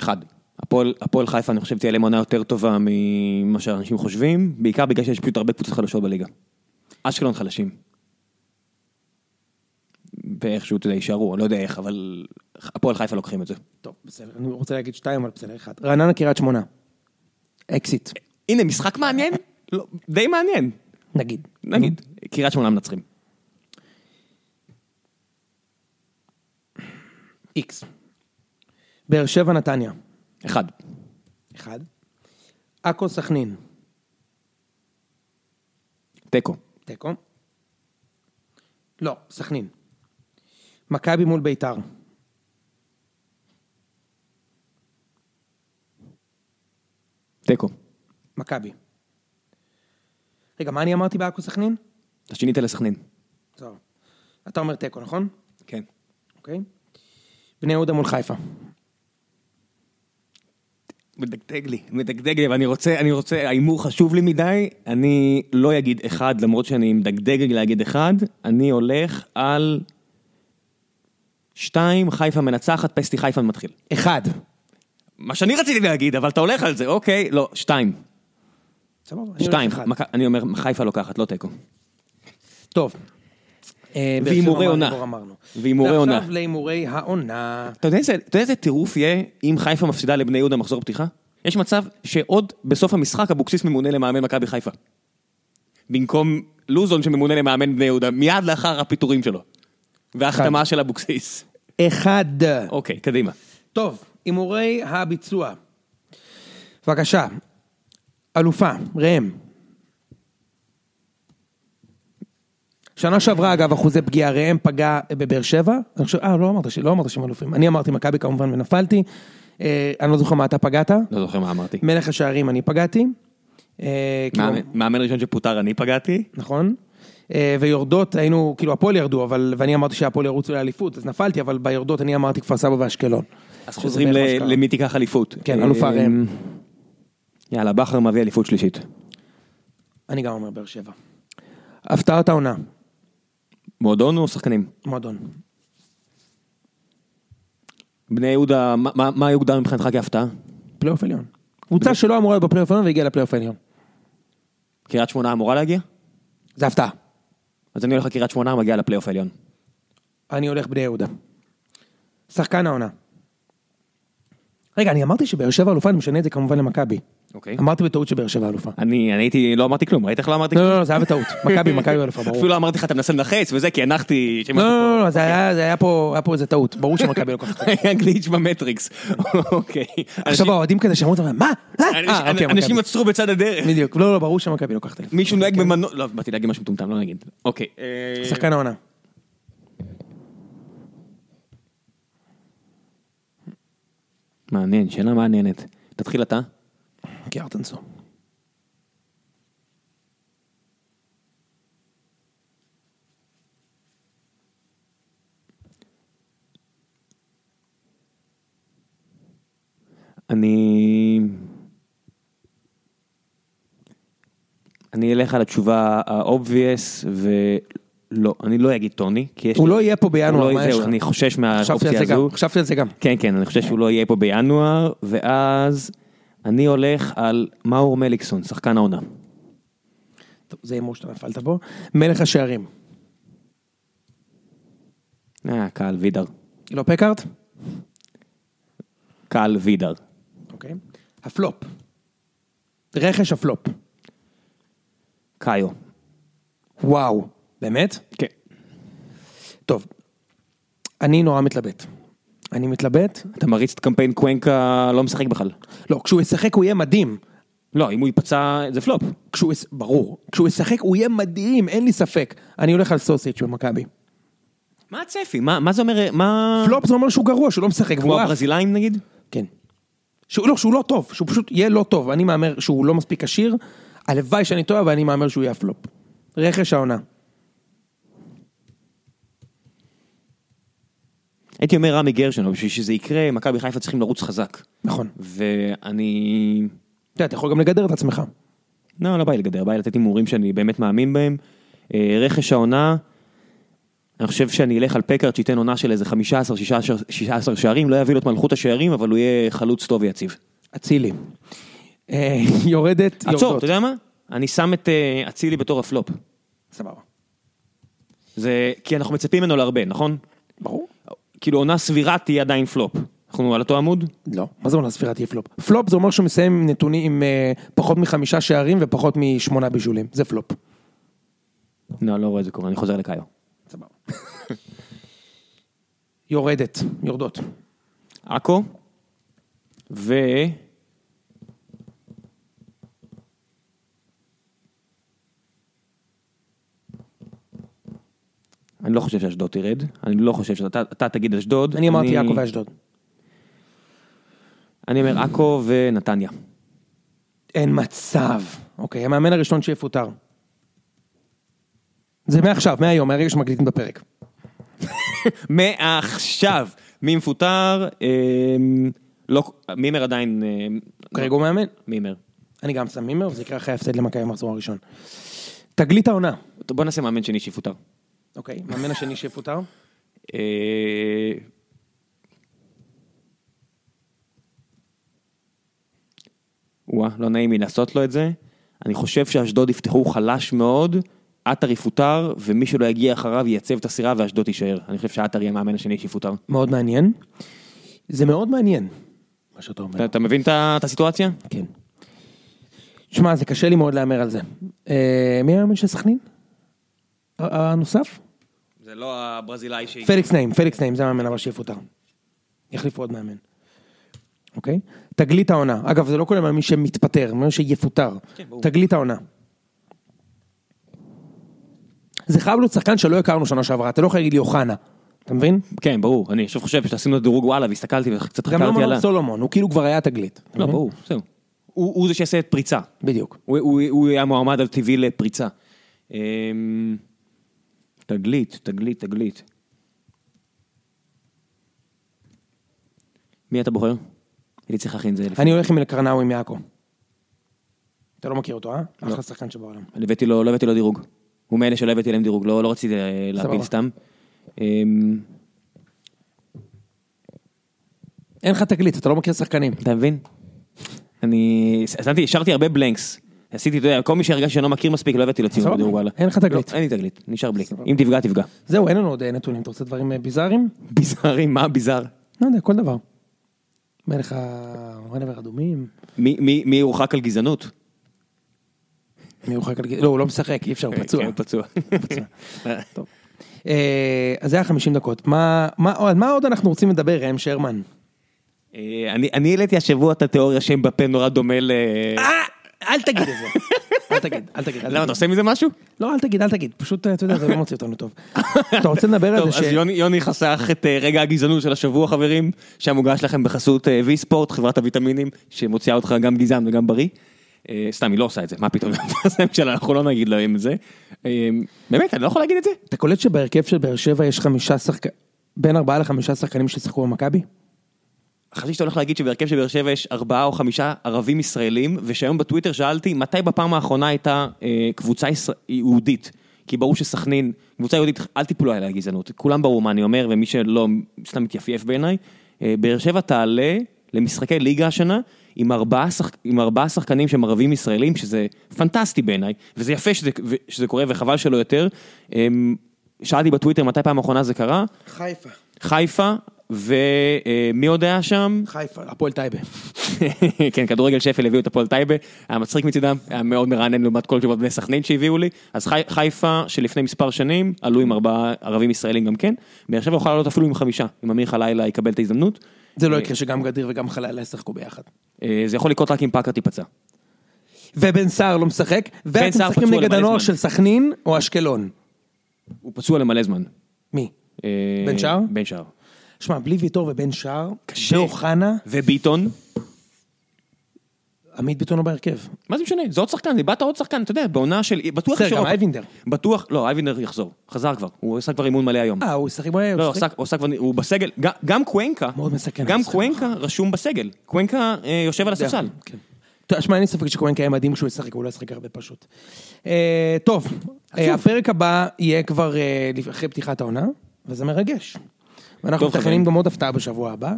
אחד. הפועל, הפועל חיפה, אני חושב, תהיה להם עונה יותר טובה ממה שאנשים חושבים, בעיקר בגלל שיש פשוט הרבה קבוצות חלשות בליגה. אשקלון חלשים. ואיכשהו, אתה יודע, יישארו, אני לא יודע איך, אבל הפועל חיפה לוקחים את זה.
טוב, בסדר, אני רוצה להגיד שתיים, אבל בסדר, אחד. רעננה, קריית שמונה. אקזיט,
הנה, משחק מעניין, לא, די מעניין,
נגיד.
נגיד. קריית שמונה מנצחים.
איקס. באר שבע, נתניה.
אחד.
אחד. עכו, סכנין.
תיקו.
תיקו. לא, סכנין. מכבי מול ביתר.
תיקו.
מכבי. רגע, מה אני אמרתי בעכו, סכנין?
אתה שינית לסכנין.
זהו. אתה אומר תיקו, נכון?
כן.
אוקיי. בני יהודה מול חיפה.
מדגדג לי, מדגדג לי, ואני רוצה, אני רוצה, ההימור חשוב לי מדי, אני לא אגיד אחד, למרות שאני מדגדג לי להגיד אחד, אני הולך על שתיים, חיפה מנצחת, פסטי חיפה מתחיל.
אחד.
מה שאני רציתי להגיד, אבל אתה הולך על זה, אוקיי, לא, שתיים,
סבבה. אני הולך
שתיים,
אחד.
מכ- אני אומר, חיפה לוקחת, לא תיקו.
טוב. אה, באר שבע
והימורי
אמרנו,
עונה.
כבר אמרנו.
והימורי
ועכשיו
עונה.
להימורי העונה.
אתה יודע איזה- אתה יודע איזה טירוף יהיה אם חיפה מפסידה לבני יהודה מחזור פתיחה? יש מצב שעוד בסוף המשחק אבוקסיס ממונה למאמן מכבי חיפה. במקום לוזון שממונה למאמן בני יהודה, מיד לאחר הפיטורים שלו. וההחתמה של אבוקסיס.
אחד.
אוקיי, קדימה.
טוב, הימורי הביצוע. בבקשה. אלופה, ראם. שנה שעברה אגב אחוזי פגיעה, ראם פגע בבאר שבע, אני חושב, אה לא אמרת, ש- לא אמרת שהם אלופים, אני אמרתי מכבי כמובן ונפלתי, אה, אני לא זוכר מה אתה פגעת,
לא זוכר מה אמרתי.
מלך השערים אני פגעתי, אה, כאילו-
מאמן- מאמן ראשון שפוטר אני פגעתי?
נכון? אה, ויורדות, היינו, כאילו הפועל ירדו, אבל, ואני אמרתי שהפועל ירוצו לאליפות, אז נפלתי, אבל ביורדות אני אמרתי כפר סבא ואשקלון.
אז
שזה
חוזרים
בערך מה שקרה.
ל- למי תיקח אליפות.
כן, אלופה
אה,
ראם.
יאללה, בכר מביא אליפות שלישית.
אני גם אומר באר שבע. הפתעת העונה,
מועדון או שחקנים?
מועדון.
בני יהודה, מה- מה מה יוגדר מבחינתך כהפתעה?
פלייאוף עליון. קבוצה שלא אמורה להיות בפלייאוף עליון והגיעה לפלייאוף עליון.
קריית שמונה אמורה להגיע?
זה הפתעה.
אז אני הולך לקריית שמונה, מגיע לפלייאוף העליון.
אני הולך בני יהודה. שחקן העונה. רגע, אני אמרתי שבאר שבע אלופה, אני משנה את זה כמובן למכבי.
אוקיי.
אמרתי בטעות שבאר שבע אלופה.
אני אני הייתי, לא אמרתי כלום, ראית איך לא אמרתי
לא,
כלום?
לא, לא, זה היה
<laughs>
בטעות. מכבי, מכבי אלופה, ברור.
אפילו לא אמרתי לך, אתה מנסה לנחץ וזה, כי הנחתי...
לא, לא, לא, לא, זה היה- זה היה פה היה פה איזה טעות. ברור
<laughs>
שמכבי לוקחת.
היה גליץ' במטריקס. <laughs> אוקיי.
עכשיו האוהדים כזה שמעו את זה, מה? אה,
אנשים-
אה, אוקיי,
אנשים
מכבי. אוקיי.
עצרו בצד הדרך.
בדיוק, לא, לא, ברור שמכבי לוקחת אליפות.
מישהו נוהג במנוע... לא, באתי להגיד משהו מטומטם, לא נגיד. אוקיי. אה,
שחקן העונה.
מעניין, שאלה מעניינת. תתחיל אתה.
גיארטנסו.
אני... אני אלך על התשובה ה-obvious, ולא, אני לא אגיד טוני, כי יש...
הוא
לי-
לא יהיה פה
הוא לא
בינואר, מה
יהיה,
יש
זהו,
לך?
אני חושש
חשבתי על
מהאופציה
זה גם,
הזו.
חשבתי על זה גם.
כן, כן, אני חושב שהוא לא יהיה פה בינואר, ואז אני הולך על מאור מליקסון, שחקן העונה.
טוב, זה הימור שאתה נפלת בו. מלך השערים.
אה, קהל וידר.
לא פקארט?
קהל וידר.
אוקיי. הפלופ. רכש הפלופ.
קאיו.
וואו. באמת?
כן.
טוב. אני נורא מתלבט. אני מתלבט.
אתה מריץ את קמפיין קוונקה, לא משחק בכלל.
לא, כשהוא ישחק הוא יהיה מדהים.
לא, אם הוא ייפצע, זה פלופ.
כשהוא, יס- ברור, כשהוא ישחק הוא יהיה מדהים, אין לי ספק. אני הולך על סוסיץ' במכבי.
מה הצפי? מה, מה זה אומר, מה...
פלופ זה אומר שהוא גרוע, שהוא לא משחק,
כמו
והוא עף.
הברזילאים נגיד?
כן. שהוא, לא, שהוא לא טוב, שהוא פשוט יהיה לא טוב. אני מהמר שהוא לא מספיק עשיר, הלוואי שאני טועה, אבל אני מהמר שהוא יהיה הפלופ. רכש העונה.
הייתי אומר רמי גרשון, אבל בשביל שזה יקרה, מכבי חיפה צריכים לרוץ חזק.
נכון.
ואני...
אתה יודע, אתה יכול גם לגדר את עצמך.
לא, לא בא לי לגדר, בא לי לתת הימורים שאני באמת מאמין בהם. אה, רכש העונה, אני חושב שאני אלך על פקארט שייתן עונה של איזה 15-16 שערים, לא יביא לו את מלכות השערים, אבל הוא יהיה חלוץ טוב ויציב.
אצילי. אה, יורדת,
עצור,
יורדות.
אתה יודע מה? אני שם את אה, אצילי בתור הפלופ.
סבבה.
זה כי אנחנו מצפים ממנו להרבה, נכון?
ברור.
כאילו עונה סבירה תהיה עדיין פלופ. אנחנו על אותו עמוד?
לא. מה זה עונה ספירה תהיה פלופ? פלופ זה אומר שהוא מסיים עם נתונים עם אה, פחות מחמישה שערים ופחות משמונה בישולים. זה פלופ.
לא, לא רואה את זה קורה, אני חוזר לקאיו. <laughs>
סבבה. יורדת, יורדות.
עכו, ו... אני לא חושב שאשדוד תרד, אני לא חושב שאתה אתה תגיד אשדוד.
אני אמרתי יעקב ואשדוד.
אני אומר עכו ונתניה.
אין מצב. אוקיי, המאמן הראשון שיפוטר. זה מעכשיו, מהיום, מהרגע שמקליטים בפרק.
מעכשיו, מי מפוטר? אמ, לא, מימר עדיין... אמ,
כרגע הוא מאמן.
מימר.
אני גם שם מימר, זה יקרה אחרי ההפסד למכבי במחזור הראשון. תגלית העונה.
טוב, בוא נעשה מאמן שני שיפוטר.
אוקיי, מאמן השני שיפוטר.
אה, וואה, לא נעים לי לעשות לו את זה. אני חושב שאשדוד יפתחו חלש מאוד, עטר יפוטר, ומי שלא יגיע אחריו ייצב את הסירה ואשדוד תישאר. אני חושב שעטר יהיה המאמן השני שיפוטר.
מאוד מעניין. זה מאוד מעניין, מה שאתה אומר.
אתה, אתה מבין את ה- את הסיטואציה?
כן. שמע, זה קשה לי מאוד להמר על זה. אה, מי המאמן של סכנין? ה- הנוסף?
זה לא הברזילאי ש...
פליקס נעים, פליקס נעים, זה המאמן הבא שיפוטר. יחליפו עוד מאמן. אוקיי? תגלית העונה. אגב, זה לא כולל מאמין שמתפטר, מאמין שיפוטר.
כן, ברור.
תגלית העונה. זה חייב להיות שחקן שלא הכרנו שנה שעברה, אתה לא יכול להגיד לי אוחנה. אתה מבין?
כן, ברור. אני עכשיו חושב שעשינו את דירוג וואלה והסתכלתי וקצת
גם לא
חקרתי על ה...
מנור סולומון, הוא כאילו כבר היה תגלית. אתה
לא,
מבין?
ברור, זהו. הוא הוא זה שיעשה את פריצה.
בדיוק.
הוא, הוא, הוא היה מועמד על טבעי לפריצה. אמ, תגלית, תגלית, תגלית. מי אתה בוחר? הייתי צריך להכין את זה. לפני.
אני הולך עם אלקרנאווי מעכו. אתה לא מכיר אותו, אה? אחלה שחקן שבעולם.
אני הבאתי לו, לא הבאתי לו דירוג. הוא מאלה שלא הבאתי להם דירוג, לא, לא רציתי אה, להפיל
סבבה.
סתם. אמ,
אין לך תגלית, אתה לא מכיר שחקנים.
אתה מבין? אני... שמתי, השארתי הרבה בלנקס. עשיתי, אתה יודע, כל מי שהרגשתי שאני לא מכיר מספיק, לא הבאתי לו ציון
סבבה.
בדירוג וואלה.
אין לך תגלית.
לא, אין לי תגלית, נשאר בלי. אם תפגע,
<laughs>
תפגע.
זהו, אין לנו עוד אה, נתונים, אתה רוצה דברים אה, ביזאריים?
ביזארי, מה ביזאר?
לא יודע, כל דבר. מלך הרנבר אדומים.
מי- מי מי יורחק על גזענות?
מי הוא חלק על גיל? לא, הוא לא משחק, אי אפשר, הוא פצוע.
כן, הוא פצוע. <laughs>
טוב. אה, אז זה היה 50 דקות. מה- מה על מה עוד אנחנו רוצים לדבר, ראם שרמן?
אה, אני אני העליתי השבוע את התיאוריה שהם בפה נורא דומה ל...
אה! אל תגיד את זה. <laughs> אל תגיד, אל תגיד. אל
למה אתה
תגיד.
עושה מזה משהו?
לא, אל תגיד, אל תגיד. פשוט, אה, אתה יודע, זה לא מוציא אותנו
<laughs>
טוב. אתה רוצה לדבר על
טוב,
זה
אז יוני- יוני חסך את אה, רגע הגזענות של השבוע חברים, שהמוגש לכם בחסות אה, וי ספורט, חברת הוויטמינים, שמוציאה אותך גם גזען וגם בריא. אה, סתם, היא לא עושה את זה, מה פתאום, <laughs> שלה, אנחנו לא נגיד להם את זה. אה, באמת, אני לא יכול להגיד את זה?
אתה קולט שבהרכב של באר שבע יש חמישה שחקנים, בין ארבעה לחמישה שחקנים ששיחקו במכבי?
חשבתי שאתה הולך להגיד שבהרכב של באר שבע יש ארבעה או חמישה ערבים ישראלים, ושהיום בטוויטר שאלתי מתי בפעם האחרונה הייתה אה, קבוצה ישראל, יהודית. כי ברור שסכנין, קבוצה יהודית, אל תיפלו עליה גזענות. כולם ברור מה אני אומר, ומי שלא, סתם מתייפייף בעיניי. אה, באר שבע תעלה למשחקי ליגה השנה עם ארבעה, שח, עם ארבעה שחקנים שהם ערבים ישראלים, שזה פנטסטי בעיניי, וזה יפה שזה, ו- שזה קורה, וחבל שלא יותר. אה, שאלתי בטוויטר מתי פעם האחרונה זה קרה,
חיפה.
חיפה, ומי עוד היה שם?
חיפה, הפועל טייבה.
כן, כדורגל שפל הביאו את הפועל טייבה, היה מצחיק מצידם, היה מאוד מרענן לעומת כל תשובות בני סכנין שהביאו לי, אז חי, חיפה שלפני מספר שנים עלו עם ארבעה ערבים ישראלים גם כן, באר שבע יכולה לעלות אפילו עם חמישה, אם אמיר חלילה יקבל את ההזדמנות,
זה לא יקרה שגם גדיר וגם חלילה ישחקו ביחד.
אה, זה יכול לקרות רק אם פאקר תיפצע.
ובן סער לא משחק,
בן
ואתם
סער
משחקים
פצוע
נגד
למלא
הנוער
זמן.
של סכנין או אשקלון.
הוא פצוע למלא זמן.
מי?
אה,
בן שער?
בן שער.
שמע, בלי ויטור ובן שער,
קשה.
ואוחנה,
וביטון?
עמית ביטון לא בהרכב.
מה זה משנה? זה עוד שחקן, איבדת עוד שחקן, אתה יודע, בעונה של... בטוח
בסדר,
יש
גם
אירופה.
אייבינדר.
בטוח, לא, אייבינדר יחזור. חזר כבר. הוא עשה כבר אימון מלא היום.
אה, הוא ישחק בו...
לא, הוא עשה- הוא עשה כבר... הוא בסגל. ג- גם קוונקה.
מאוד מסכן,
גם
המסכן.
קוונקה רשום בסגל. קוונקה אה, יושב על הספסל.
כן. טוב, שמע, אין לי ספק שקוונקה היה מדהים כשהוא ישחק, הוא לא ישחק הרבה פשוט. אה, טוב, אה, הפרק הבא יהיה כבר אה, לפ- אחרי פתיחת העונה, וזה מרגש. ואנחנו
טוב, חברים.
מתכננים גם עוד הפתעה בשבוע הבא.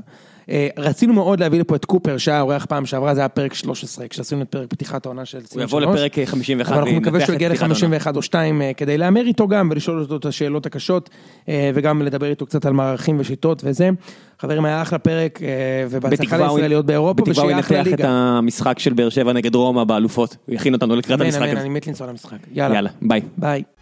אה, רצינו מאוד להביא לפה את קופר, שהיה אורח פעם שעברה, זה היה פרק 13, כשעשינו את פרק פתיחת העונה של
הוא
ציון
יבוא
שלוש.
לפרק אה, 51
אבל אנחנו מקווים
וינתח
שהוא
את
יגיע
פתיחת העונה.
ל-51 או 2 כדי להמר איתו גם ולשאול אותו את השאלות הקשות אה, וגם לדבר איתו קצת על מערכים ושיטות וזה. חברים, היה אחלה פרק אה, ובהצלחה
בתקווה הוא-
לישראל להיות באירופה
בתקווה הוא
ושיהיה אחלה
ינתח את
ליגה.
המשחק של באר שבע נגד רומא באלופות. הוא יכין אותנו לקראת
אמן,
המשחק
אמן,
הזה.
אני מת לנסוע למשחק. יאללה.
יאללה, ביי.
ביי.